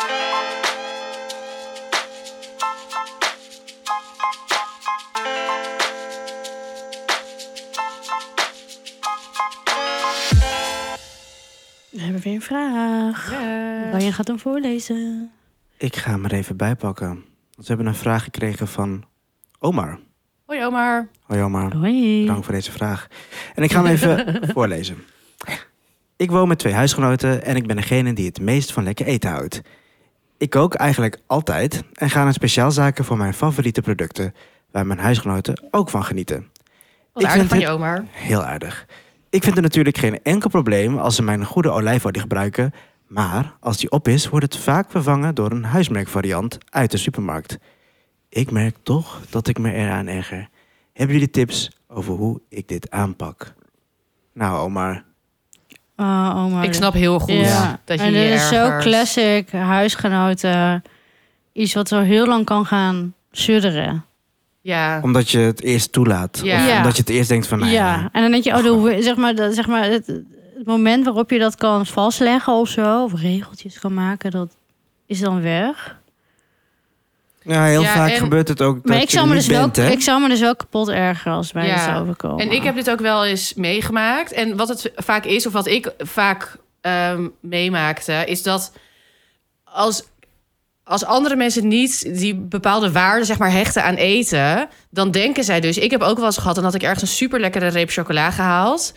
Speaker 2: We hebben weer een vraag.
Speaker 1: Ja.
Speaker 2: Brian gaat hem voorlezen.
Speaker 3: Ik ga hem er even bij pakken. Want we hebben een vraag gekregen van Omar.
Speaker 1: Hoi Omar.
Speaker 3: Hoi Omar.
Speaker 2: Hoi.
Speaker 3: Dank voor deze vraag. En ik ga hem even voorlezen. Ik woon met twee huisgenoten en ik ben degene die het meest van lekker eten houdt. Ik kook eigenlijk altijd en ga naar speciaalzaken voor mijn favoriete producten, waar mijn huisgenoten ook van genieten.
Speaker 1: Wat
Speaker 3: Ik
Speaker 1: aardig
Speaker 3: vind
Speaker 1: van
Speaker 3: het-
Speaker 1: je Omar.
Speaker 3: Heel aardig. Ik vind het natuurlijk geen enkel probleem als ze mijn goede olijfolie gebruiken, maar als die op is, wordt het vaak vervangen door een huismerkvariant uit de supermarkt. Ik merk toch dat ik me eraan erger. Hebben jullie tips over hoe ik dit aanpak? Nou, Omar,
Speaker 2: Oh, oh my.
Speaker 1: Ik snap heel goed
Speaker 3: Ja.
Speaker 1: dat je
Speaker 2: en dit
Speaker 1: je
Speaker 2: is zo
Speaker 1: ergert.
Speaker 2: classic, huisgenoten. Iets wat zo heel lang kan gaan sudderen.
Speaker 1: Ja.
Speaker 3: omdat je het eerst toelaat.
Speaker 1: Ja.
Speaker 3: Of
Speaker 2: Ja.
Speaker 3: omdat je het eerst denkt van, nou ja,
Speaker 2: ja, en dan denk je, oh, de, hoe- zeg maar, dat- zeg maar het, het moment waarop je dat kan vastleggen of zo, of regeltjes kan maken, dat is dan weg.
Speaker 3: Ja, heel
Speaker 1: Ja,
Speaker 3: vaak
Speaker 1: en-
Speaker 3: gebeurt het ook dat
Speaker 2: maar ik
Speaker 3: je er
Speaker 2: zou, me
Speaker 3: niet
Speaker 2: dus wel,
Speaker 3: bent, hè?
Speaker 2: ik zou me dus wel kapot erger als het mij
Speaker 1: Ja.
Speaker 2: dat zou overkomen.
Speaker 1: En ik heb dit ook wel eens meegemaakt. En wat het vaak is, of wat ik vaak ehm, meemaakte, is dat als, als andere mensen niet die bepaalde waarden zeg maar, hechten aan eten, dan denken zij dus. Ik heb ook wel eens gehad, dan had ik ergens een super lekkere reep chocola gehaald.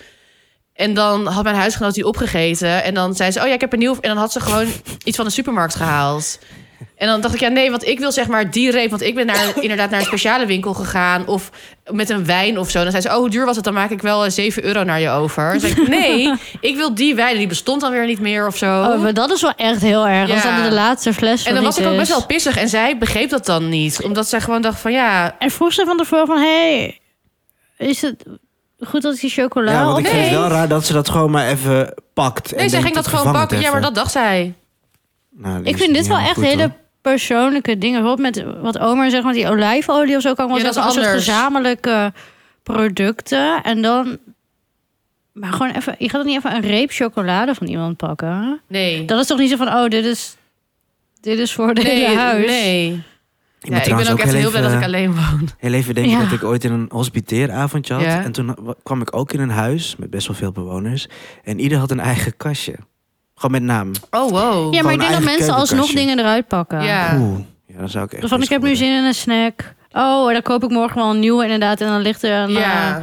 Speaker 1: En dan had mijn huisgenoot die opgegeten. En dan zei ze, oh ja, ik heb een nieuw... En dan had ze gewoon iets van de supermarkt gehaald. En dan dacht ik, ja nee, want ik wil zeg maar die reep... Want ik ben naar, inderdaad naar een speciale winkel gegaan. Of met een wijn of zo. Dan zei ze, oh, hoe duur was het? Dan maak ik wel eh, 7 euro naar je over. Dan zei ik, nee, ik wil die wijn. Die bestond dan weer niet meer of zo.
Speaker 2: Oh, maar dat is wel echt heel erg. Als
Speaker 1: Ja.
Speaker 2: dat de laatste fles van
Speaker 1: en dan was
Speaker 2: iets
Speaker 1: ik ook best
Speaker 2: is.
Speaker 1: wel pissig. En zij begreep dat dan niet. Omdat zij gewoon dacht van, ja...
Speaker 2: En vroeg ze van tevoren van... Hey, is het goed dat ik die chocola...
Speaker 3: Ja, want ik
Speaker 2: op-
Speaker 3: vind
Speaker 1: Nee.
Speaker 3: het wel raar dat ze dat gewoon maar even pakt.
Speaker 1: Nee,
Speaker 3: en
Speaker 1: zij
Speaker 3: denkt,
Speaker 1: ging dat gewoon
Speaker 3: vervang het
Speaker 1: pakken. Ja, maar
Speaker 3: even.
Speaker 1: dat dacht zij.
Speaker 3: Nou, die
Speaker 2: ik
Speaker 3: is
Speaker 2: vind
Speaker 3: niet
Speaker 2: dit wel echt
Speaker 3: helemaal goed,
Speaker 2: hele
Speaker 3: hoor.
Speaker 2: persoonlijke dingen. Bijvoorbeeld met wat Omer zegt, met die olijfolie of zo. Kan ik wel
Speaker 1: Ja, dat
Speaker 2: zeggen,
Speaker 1: is
Speaker 2: als soort
Speaker 1: anders.
Speaker 2: gezamenlijke producten. En dan... Maar gewoon even... Je gaat dan niet even een reep chocolade van iemand pakken.
Speaker 1: Nee.
Speaker 2: Dat is toch niet zo van... Oh, dit is... Dit is voor het
Speaker 1: nee,
Speaker 2: hele huis.
Speaker 1: nee.
Speaker 3: moet
Speaker 1: Ja, ik ben
Speaker 3: trouwens
Speaker 1: ook echt heel blij dat
Speaker 3: even-
Speaker 1: ik alleen woon.
Speaker 3: Heel even denken
Speaker 2: Ja.
Speaker 3: dat ik ooit in een hospiteeravondje had.
Speaker 1: Ja.
Speaker 3: En toen wa- kwam ik ook in een huis met best wel veel bewoners. En ieder had een eigen kastje. Gewoon met naam.
Speaker 1: Oh, wow.
Speaker 2: Ja, maar ik
Speaker 3: Gewoon
Speaker 2: denk dat
Speaker 3: eigen
Speaker 2: mensen alsnog
Speaker 3: keukenkastje.
Speaker 2: dingen eruit pakken.
Speaker 1: Ja.
Speaker 3: Oeh. Ja, dan zou ik echt...
Speaker 2: Van, ik
Speaker 3: pissig
Speaker 2: heb nu
Speaker 3: worden.
Speaker 2: zin in een snack. Oh, dan koop ik morgen wel een nieuwe inderdaad. En dan ligt er een,
Speaker 1: Ja.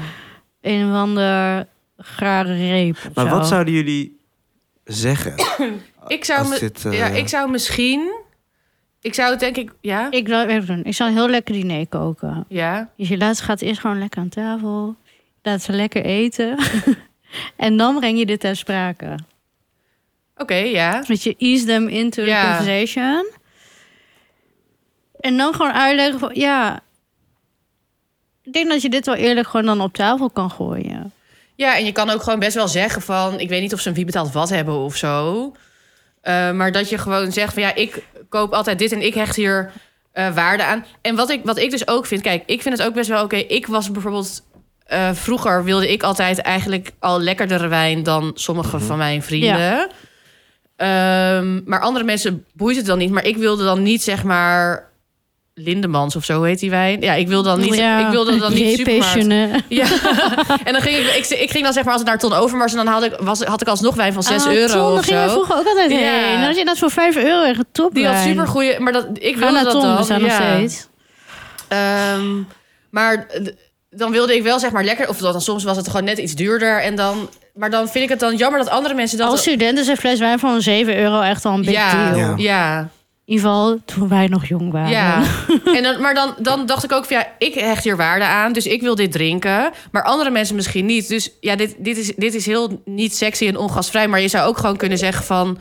Speaker 2: eh, een of ander gare reep of
Speaker 3: Maar
Speaker 2: zo.
Speaker 3: wat zouden jullie zeggen?
Speaker 1: Ik zou,
Speaker 3: als
Speaker 1: me-
Speaker 3: dit, eh,
Speaker 1: ja, ik zou misschien... Ik zou het denk ik... Ja?
Speaker 2: Ik wil even doen. Ik zou een heel lekker diner koken.
Speaker 1: Ja.
Speaker 2: Dus je laat ze gaat eerst gewoon lekker aan tafel. Laat ze lekker eten. en dan breng je dit ter sprake.
Speaker 1: Oké, ja.
Speaker 2: Dat je ease them into the
Speaker 1: Ja.
Speaker 2: conversation. En dan gewoon uitleggen van... Ja, ik denk dat je dit wel eerlijk gewoon dan op tafel kan gooien.
Speaker 1: Ja, en je kan ook gewoon best wel zeggen van... Ik weet niet of ze een wie betaalt wat hebben of zo. Eh, maar dat je gewoon zegt van... Ja, ik koop altijd dit en ik hecht hier eh, waarde aan. En wat ik, wat ik dus ook vind... Kijk, ik vind het ook best wel oké. Ik was bijvoorbeeld... eh, vroeger wilde ik altijd eigenlijk al lekkerdere wijn... dan sommige van mijn vrienden. Ehm, maar andere mensen boeit het dan niet. Maar ik wilde dan niet zeg maar... Lindemans of zo heet die wijn. Ja, ik wilde dan niet...
Speaker 2: Oh Ja.
Speaker 1: Ik wilde dan niet
Speaker 2: J.P.
Speaker 1: supermarkt.
Speaker 2: Chenet.
Speaker 1: Ja, en dan ging ik, ik, ik ging dan zeg maar als het naar Ton Overmars... en dan had ik, was, had ik alsnog wijn van 6
Speaker 2: Ah,
Speaker 1: euro
Speaker 2: Ton, daar
Speaker 1: of
Speaker 2: gingen we
Speaker 1: zo.
Speaker 2: vroeger ook altijd
Speaker 1: Ja.
Speaker 2: heen. Dan had je dat voor 5 euro echt een top.
Speaker 1: Die had super goede... Maar dat, ik
Speaker 2: Ga
Speaker 1: wilde
Speaker 2: naar
Speaker 1: dat
Speaker 2: Ton,
Speaker 1: dan.
Speaker 2: we zijn nog
Speaker 1: ja.
Speaker 2: steeds.
Speaker 1: Ehm, maar d- dan wilde ik wel zeg maar lekker... of dan, soms was het gewoon net iets duurder. En dan, maar dan vind ik het dan jammer dat andere mensen dat...
Speaker 2: Als student is een fles wijn van 7 euro echt al een big
Speaker 1: ja,
Speaker 2: deal.
Speaker 3: Ja.
Speaker 1: ja, ja.
Speaker 2: In ieder geval toen wij nog jong waren.
Speaker 1: en dan, maar dan, dan dacht ik ook van ja, ik hecht hier waarde aan, dus ik wil dit drinken. Maar andere mensen misschien niet. Dus ja, dit, dit, is, dit is heel niet sexy en ongasvrij. Maar je zou ook gewoon kunnen zeggen van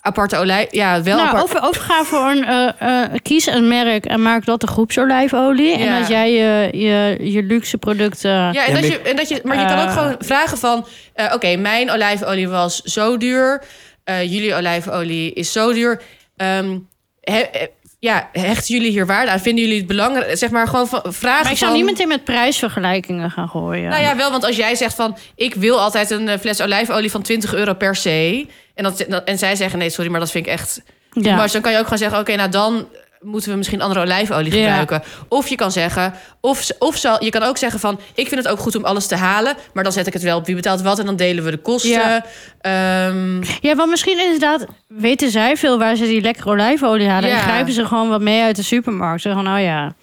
Speaker 1: aparte olij. Ja, wel
Speaker 2: nou,
Speaker 1: apart.
Speaker 2: of, of ga voor een... eh, eh, kies een merk en maak dat de groepsolijfolie. En
Speaker 1: Ja.
Speaker 2: dat jij je, je, je luxe producten...
Speaker 1: Ja, en
Speaker 3: Ja,
Speaker 1: dat
Speaker 3: maar
Speaker 1: je, en dat je, maar je kan ook
Speaker 2: Eh.
Speaker 1: gewoon vragen van... eh, oké, mijn olijfolie was zo duur. eh, jullie olijfolie is zo duur. Ehm, he- eh, ja, hechten jullie hier waarde aan? Vinden jullie het belangrijk? Zeg maar gewoon van, vragen
Speaker 2: Maar ik zou
Speaker 1: van...
Speaker 2: niet meteen met prijsvergelijkingen gaan gooien.
Speaker 1: Nou ja, wel, want als jij zegt van... ik wil altijd een eh, fles olijfolie van 20 euro per se... en, dat, dat- en zij zeggen nee, sorry, maar dat vind ik echt...
Speaker 2: Ja.
Speaker 1: Maar dan kan je ook gewoon zeggen... oké, nou dan moeten we misschien andere olijfolie
Speaker 2: Ja.
Speaker 1: gebruiken. Of je kan zeggen... Of, z- of zal, je kan ook zeggen van... ik vind het ook goed om alles te halen... maar dan zet ik het wel op wie betaalt wat... en dan delen we de kosten.
Speaker 2: Ja.
Speaker 1: Ehm,
Speaker 2: Ja, want misschien inderdaad weten zij veel waar ze die lekkere olijfolie halen.
Speaker 1: Ja.
Speaker 2: En grijpen ze gewoon wat mee uit de supermarkt. Zo van, oh ja. Maar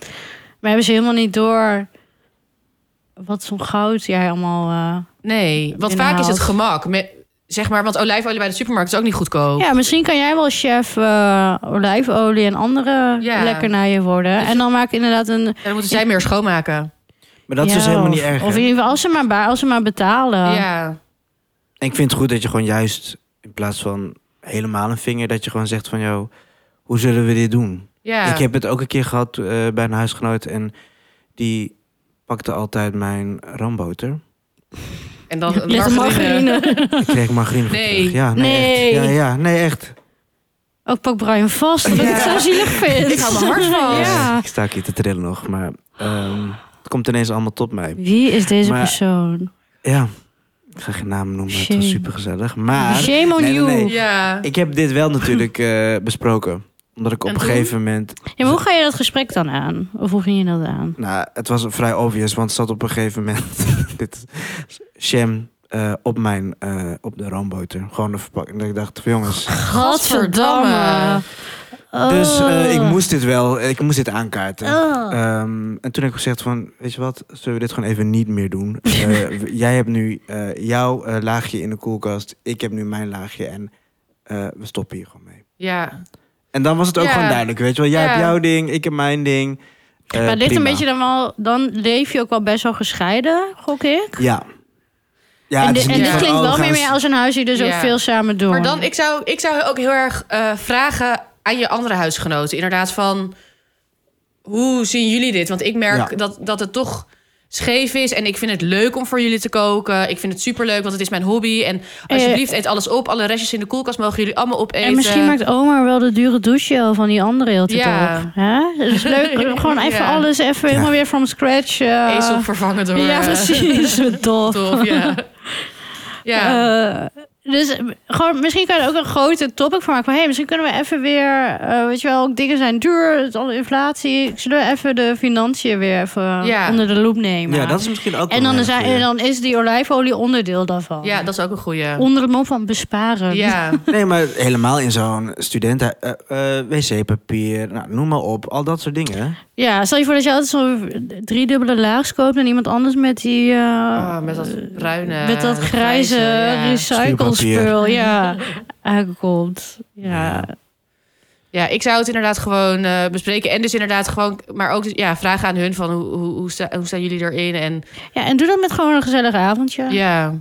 Speaker 2: hebben ze helemaal niet door wat zo'n goud jij allemaal... eh.
Speaker 1: nee, want vaak
Speaker 2: Inhoud.
Speaker 1: is het gemak. Me- zeg maar, want olijfolie bij de supermarkt is ook niet goedkoop.
Speaker 2: Ja, misschien kan jij wel chef eh, olijfolie en andere
Speaker 1: Ja.
Speaker 2: lekkernijen worden. En dan maak ik inderdaad een...
Speaker 1: En dan moeten zij meer schoonmaken.
Speaker 3: Maar dat is dus
Speaker 2: Ja,
Speaker 3: helemaal
Speaker 2: of-
Speaker 3: niet erg.
Speaker 2: Of in
Speaker 3: hè?
Speaker 2: ieder geval, als ze maar, ba- als ze maar betalen.
Speaker 1: ja.
Speaker 3: Ik vind het goed dat je gewoon juist... in plaats van helemaal een vinger... dat je gewoon zegt van... joh, hoe zullen we dit doen?
Speaker 1: ja.
Speaker 3: Ik heb het ook een keer gehad eh, bij een huisgenoot en die pakte altijd mijn ramboter.
Speaker 1: En dan
Speaker 2: Met een margarine.
Speaker 3: Ik kreeg margarine voor
Speaker 1: Nee.
Speaker 3: terug. Ja, nee.
Speaker 2: Nee.
Speaker 3: Echt. Ja, ja, nee, echt.
Speaker 2: Ook pak Brian vast, omdat ik het zo zielig vind.
Speaker 1: Ik hou mijn hart vast.
Speaker 2: Ja.
Speaker 3: Ik sta ook hier te trillen nog, maar ehm, het komt ineens allemaal tot mij.
Speaker 2: Wie is deze
Speaker 3: Maar-
Speaker 2: persoon?
Speaker 3: Ja, Ik ga geen namen noemen, het
Speaker 2: Shame.
Speaker 3: was supergezellig. Maar
Speaker 2: Shame on
Speaker 3: Nee, nee,
Speaker 2: you.
Speaker 3: nee.
Speaker 1: Ja.
Speaker 3: ik heb dit wel natuurlijk eh, besproken. Omdat ik op
Speaker 1: En
Speaker 3: een
Speaker 1: toen?
Speaker 3: gegeven moment...
Speaker 2: Ja, maar hoe ga je dat gesprek dan aan? Of hoe ging je dat aan?
Speaker 3: Nou, het was vrij obvious, want het zat op een gegeven moment... dit, Sham eh, op, mijn, eh, op de roomboter. Gewoon de verpakking. Dat ik dacht, jongens...
Speaker 1: Gadverdamme.
Speaker 3: Dus eh, ik
Speaker 2: Oh.
Speaker 3: moest dit wel, ik moest dit aankaarten.
Speaker 2: Oh.
Speaker 3: Ehm, en toen heb ik gezegd van, weet je wat, zullen we dit gewoon even niet meer doen? Eh, w- jij hebt nu eh, jouw eh, laagje in de koelkast, ik heb nu mijn laagje en eh, we stoppen hier gewoon mee.
Speaker 1: Ja.
Speaker 3: En dan was het ook
Speaker 1: Ja.
Speaker 3: gewoon duidelijk, weet je wel. Jij
Speaker 1: Ja.
Speaker 3: hebt jouw ding, ik heb mijn ding. Eh,
Speaker 2: maar dit een
Speaker 3: prima.
Speaker 2: beetje dan wel, dan leef je ook wel best wel gescheiden, gok ik.
Speaker 3: Ja. ja
Speaker 2: en
Speaker 3: het
Speaker 2: di-
Speaker 3: is
Speaker 2: en
Speaker 3: niet
Speaker 2: dit
Speaker 3: van,
Speaker 2: klinkt
Speaker 3: oh,
Speaker 2: wel
Speaker 3: we
Speaker 2: meer
Speaker 3: gaan
Speaker 2: mee als een huis die dus ook
Speaker 1: Ja.
Speaker 2: veel samen doen.
Speaker 1: Maar dan, ik zou, ik zou ook heel erg eh, vragen aan je andere huisgenoten. Inderdaad, van hoe zien jullie dit? Want ik merk
Speaker 3: Ja.
Speaker 1: dat, dat het toch scheef is. En ik vind het leuk om voor jullie te koken. Ik vind het superleuk, want het is mijn hobby. En alsjeblieft, eet alles op. Alle restjes in de koelkast mogen jullie allemaal opeten.
Speaker 2: Eh, en misschien maakt oma wel de dure douche van die andere heel tijd
Speaker 1: eh, Ja.
Speaker 2: op. Hè? Dat is leuk. Gewoon even
Speaker 1: Ja.
Speaker 2: alles even
Speaker 3: Ja.
Speaker 2: helemaal weer from scratch. eh,
Speaker 1: Ezel vervangen door...
Speaker 2: ja,
Speaker 1: eh,
Speaker 2: precies. Tof.
Speaker 1: Tof, ja. ja.
Speaker 2: Eh, dus eh, gewoon, misschien kan je er ook een grote topic van maken. Van, hey, misschien kunnen we even weer... eh, weet je wel, ook dingen zijn duur. Het is alle inflatie. Zullen we even de financiën weer even
Speaker 1: Ja.
Speaker 2: onder de loep nemen?
Speaker 3: Ja, dat is misschien ook
Speaker 2: en,
Speaker 3: wel
Speaker 2: dan
Speaker 3: een
Speaker 2: zijn,
Speaker 3: goeie.
Speaker 2: en dan is die olijfolie onderdeel daarvan.
Speaker 1: ja, dat is ook een goeie.
Speaker 2: Onder het mom van besparen.
Speaker 1: Ja,
Speaker 3: Nee, maar helemaal in zo'n studenten... eh, eh, wc-papier, nou, noem maar op. Al dat soort dingen.
Speaker 2: Ja, stel je voor dat je altijd zo'n driedubbele laags koopt... en iemand anders met die... eh,
Speaker 1: Ah, met dat bruine...
Speaker 2: met dat grijze,
Speaker 1: grijze, ja.
Speaker 2: recyclespul ja, aankomt.
Speaker 3: Ja.
Speaker 2: Ja.
Speaker 1: Ja, ik zou het inderdaad gewoon eh, bespreken. En dus inderdaad gewoon, maar ook dus, ja, vragen aan hun van hoe, hoe, hoe, sta- hoe staan jullie erin? En
Speaker 2: ja, en doe dat met gewoon een gezellig avondje.
Speaker 1: ja.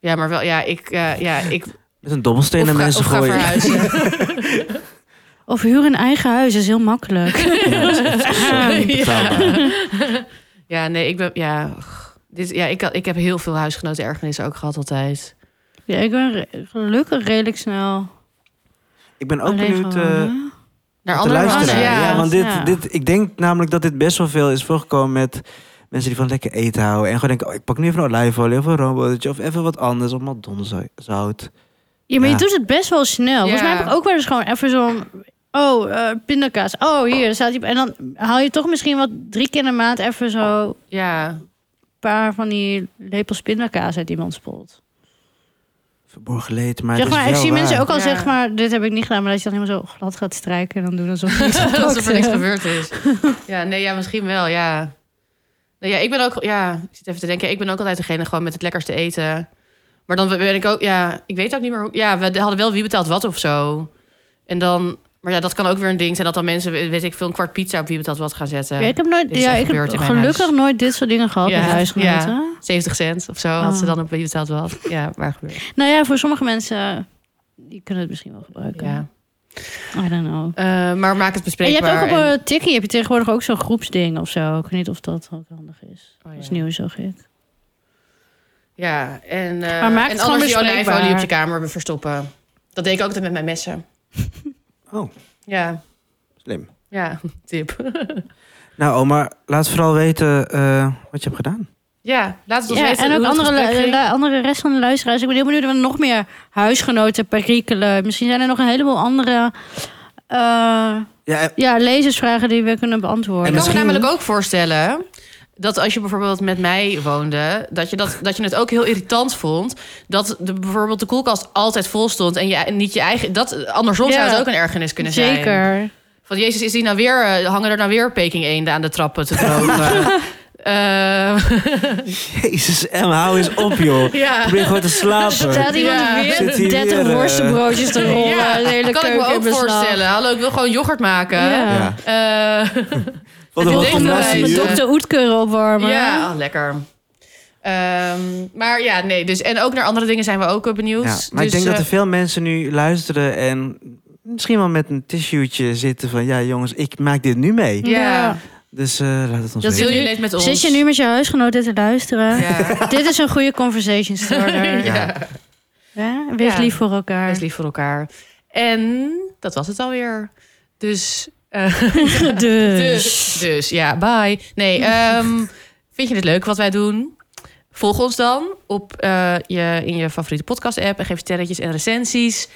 Speaker 1: Ja, maar wel, ja, ik, eh, ja, ik
Speaker 3: Met een dobbelsteen
Speaker 1: of
Speaker 3: naar
Speaker 1: ga,
Speaker 3: mensen
Speaker 1: of ga
Speaker 3: gooien.
Speaker 1: verhuizen.
Speaker 2: Of huur een eigen huis is heel makkelijk.
Speaker 1: ja.
Speaker 3: Betaalbaar.
Speaker 1: ja, nee, ik ben, ja, och, dit, ja ik, had- ik heb heel veel huisgenoten ergernissen ook gehad altijd.
Speaker 2: ja, ik ben re- gelukkig redelijk snel.
Speaker 3: Ik ben ook
Speaker 2: alleen
Speaker 3: benieuwd... eh,
Speaker 2: geworden.
Speaker 1: Naar
Speaker 3: de
Speaker 1: andere
Speaker 3: luisteraar.
Speaker 1: mensen,
Speaker 3: Ja,
Speaker 1: ja.
Speaker 3: want dit,
Speaker 2: Ja.
Speaker 3: dit, ik denk namelijk dat dit best wel veel is voorgekomen met mensen die van lekker eten houden. En gewoon denken, oh, ik pak nu even een olijfolie of een roombotertje of even wat anders. Of madonzout.
Speaker 2: ja, maar
Speaker 3: Ja.
Speaker 2: je doet het best wel snel. Volgens mij
Speaker 1: Ja.
Speaker 2: heb ik ook wel eens gewoon even zo'n... Oh, eh, pindakaas. Oh, hier staat die. En dan haal je toch misschien wat drie keer in de maand even zo een
Speaker 1: ja.
Speaker 2: paar van die lepels pindakaas uit iemands pot.
Speaker 3: Verborgen leed, maar
Speaker 2: Zeg
Speaker 3: het is
Speaker 2: maar, ik
Speaker 3: wel
Speaker 2: zie
Speaker 3: waar.
Speaker 2: mensen ook al
Speaker 1: Ja.
Speaker 2: zeg maar, dit heb ik niet gedaan, maar dat je dan helemaal zo glad gaat strijken en dan doen alsof niks
Speaker 1: Alsof er niks
Speaker 2: gebeurt.
Speaker 1: gebeurd is. Ja, nee, ja, misschien wel, ja. Nee, ja, ik ben ook, ja, ik zit even te denken. Ik ben ook altijd degene gewoon met het lekkerste eten. Maar dan ben ik ook, ja, ik weet ook niet meer hoe. Ja, we hadden wel wie betaalt wat of zo. En dan, maar ja, dat kan ook weer een ding zijn dat dan mensen, weet ik veel, een kwart pizza op wie betaalt wat gaan zetten.
Speaker 2: Ja, ik heb, nooit,
Speaker 1: Dit is
Speaker 2: ja,
Speaker 1: echt
Speaker 2: ik heb
Speaker 1: gebeurd in mijn
Speaker 2: gelukkig
Speaker 1: huis.
Speaker 2: nooit dit soort dingen gehad
Speaker 1: Ja,
Speaker 2: met huisgenoten.
Speaker 1: ja. 70 cent of zo had ze
Speaker 2: Oh.
Speaker 1: dan op wie betaalt wat. Ja, waar gebeurt.
Speaker 2: Nou ja, voor sommige mensen eh, die kunnen het misschien wel gebruiken.
Speaker 1: Ja.
Speaker 2: I don't know.
Speaker 1: Eh, maar maak het
Speaker 2: En je
Speaker 1: bespreekbaar.
Speaker 2: hebt ook op
Speaker 1: en-
Speaker 2: een tikkie heb je tegenwoordig ook zo'n groepsding of zo. Ik weet niet of dat ook handig is.
Speaker 1: Oh, ja.
Speaker 2: Dat is nieuw, zag ik.
Speaker 1: Ja, en, eh
Speaker 2: Maar maak het
Speaker 1: en
Speaker 2: gewoon
Speaker 1: anders die
Speaker 2: bespreekbaar.
Speaker 1: olijfolie op je kamer verstoppen. Dat deed ik ook altijd met mijn messen.
Speaker 3: Oh,
Speaker 1: Ja,
Speaker 3: slim.
Speaker 1: ja, tip.
Speaker 3: Nou Omar, laat vooral weten eh, wat je hebt gedaan.
Speaker 1: Ja, laat het ons
Speaker 2: Ja,
Speaker 1: weten.
Speaker 2: en
Speaker 1: hoe
Speaker 2: ook
Speaker 1: dat
Speaker 2: andere, eh,
Speaker 1: gesprek
Speaker 2: lu-
Speaker 1: ging.
Speaker 2: lu- andere rest van de luisteraars. Ik ben heel benieuwd of er nog meer huisgenoten perikelen. Misschien zijn er nog een heleboel andere eh,
Speaker 3: Ja, eh,
Speaker 2: ja, lezersvragen die we kunnen
Speaker 1: Ik
Speaker 2: beantwoorden.
Speaker 3: En
Speaker 1: kan me
Speaker 3: misschien-
Speaker 1: namelijk ook voorstellen dat als je bijvoorbeeld met mij woonde, dat je, dat, dat je het ook heel irritant vond. Dat de, bijvoorbeeld de koelkast altijd vol stond en je, en niet je eigen. Dat, andersom zou
Speaker 2: Ja.
Speaker 1: het ook een ergernis kunnen zijn.
Speaker 2: Zeker.
Speaker 1: Van Jezus, is die nou weer, eh, hangen er nou weer peking eenden aan de trappen te drogen? Eh,
Speaker 3: jezus, Em, hou eens op joh.
Speaker 1: ja.
Speaker 3: Probeer gewoon te slapen.
Speaker 2: Staat iemand
Speaker 1: Ja.
Speaker 3: Zit
Speaker 2: weer
Speaker 3: hier
Speaker 2: 30
Speaker 3: weer, eh,
Speaker 2: worstenbroodjes te rollen?
Speaker 1: Ja,
Speaker 2: de hele
Speaker 1: kan ik me
Speaker 2: keuken in
Speaker 1: ook
Speaker 2: beslag.
Speaker 1: voorstellen. Hallo, ik wil gewoon yoghurt maken.
Speaker 2: Ja.
Speaker 3: Ja.
Speaker 1: Eh,
Speaker 3: Wat een
Speaker 1: Ik
Speaker 3: wat
Speaker 1: denk
Speaker 3: een
Speaker 1: dat
Speaker 3: nasty,
Speaker 1: wij-
Speaker 3: hè?
Speaker 1: Precies,
Speaker 2: dokter Oetkeuren opwarmen.
Speaker 1: Ja, oh, lekker. Ehm, maar ja, nee. Dus, en ook naar andere dingen zijn we ook eh, benieuwd.
Speaker 3: Ja, maar
Speaker 1: Dus,
Speaker 3: ik denk dat
Speaker 1: eh,
Speaker 3: er veel mensen nu luisteren en misschien wel met een tissueetje zitten van... ja jongens, ik maak dit nu mee.
Speaker 1: Ja.
Speaker 3: Dus eh, laat het ons
Speaker 2: Dat
Speaker 1: Deel
Speaker 3: weten.
Speaker 1: je leed met ons.
Speaker 2: Zit je nu met je huisgenoten te luisteren?
Speaker 1: Ja,
Speaker 2: Dit is een goede conversation starter.
Speaker 3: Ja.
Speaker 1: ja.
Speaker 2: Ja, Wees
Speaker 1: Ja.
Speaker 2: lief voor elkaar.
Speaker 1: Wees lief voor elkaar. En dat was het alweer. Dus, eh,
Speaker 2: Dus.
Speaker 1: dus, dus ja, bye. Nee, ehm, vind je het leuk wat wij doen? Volg ons dan op, eh, je, in je favoriete podcast-app en geef sterretjes en recensies.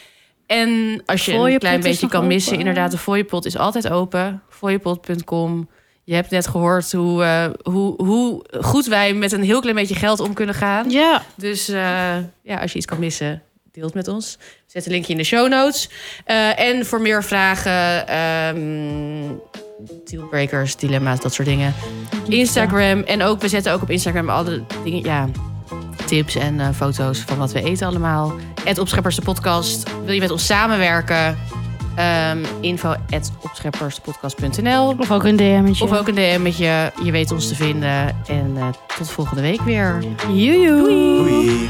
Speaker 1: En als je een
Speaker 2: Fooiepot
Speaker 1: klein
Speaker 2: is
Speaker 1: beetje
Speaker 2: nog
Speaker 1: kan missen,
Speaker 2: open.
Speaker 1: inderdaad, de fooiepot is altijd open. Fooiepot.com. Je hebt net gehoord hoe, eh, hoe, hoe goed wij met een heel klein beetje geld om kunnen gaan.
Speaker 2: Ja,
Speaker 1: Dus eh, ja, als je iets kan missen, deel het met ons. Zet een linkje in de show notes. Eh, en voor meer vragen, ehm, dealbreakers, dilemma's, dat soort dingen. Instagram. En ook, we zetten ook op Instagram alle dingen, ja, tips en eh, foto's van wat we eten allemaal. Het Opscheppers de podcast. Wil je met ons samenwerken? Ehm info at opschepperspodcast.nl.
Speaker 2: of ook een DM'tje.
Speaker 1: Of ook een DM met je. Je weet ons te vinden. En eh, tot volgende week weer.
Speaker 2: Joejoe.
Speaker 3: Doei.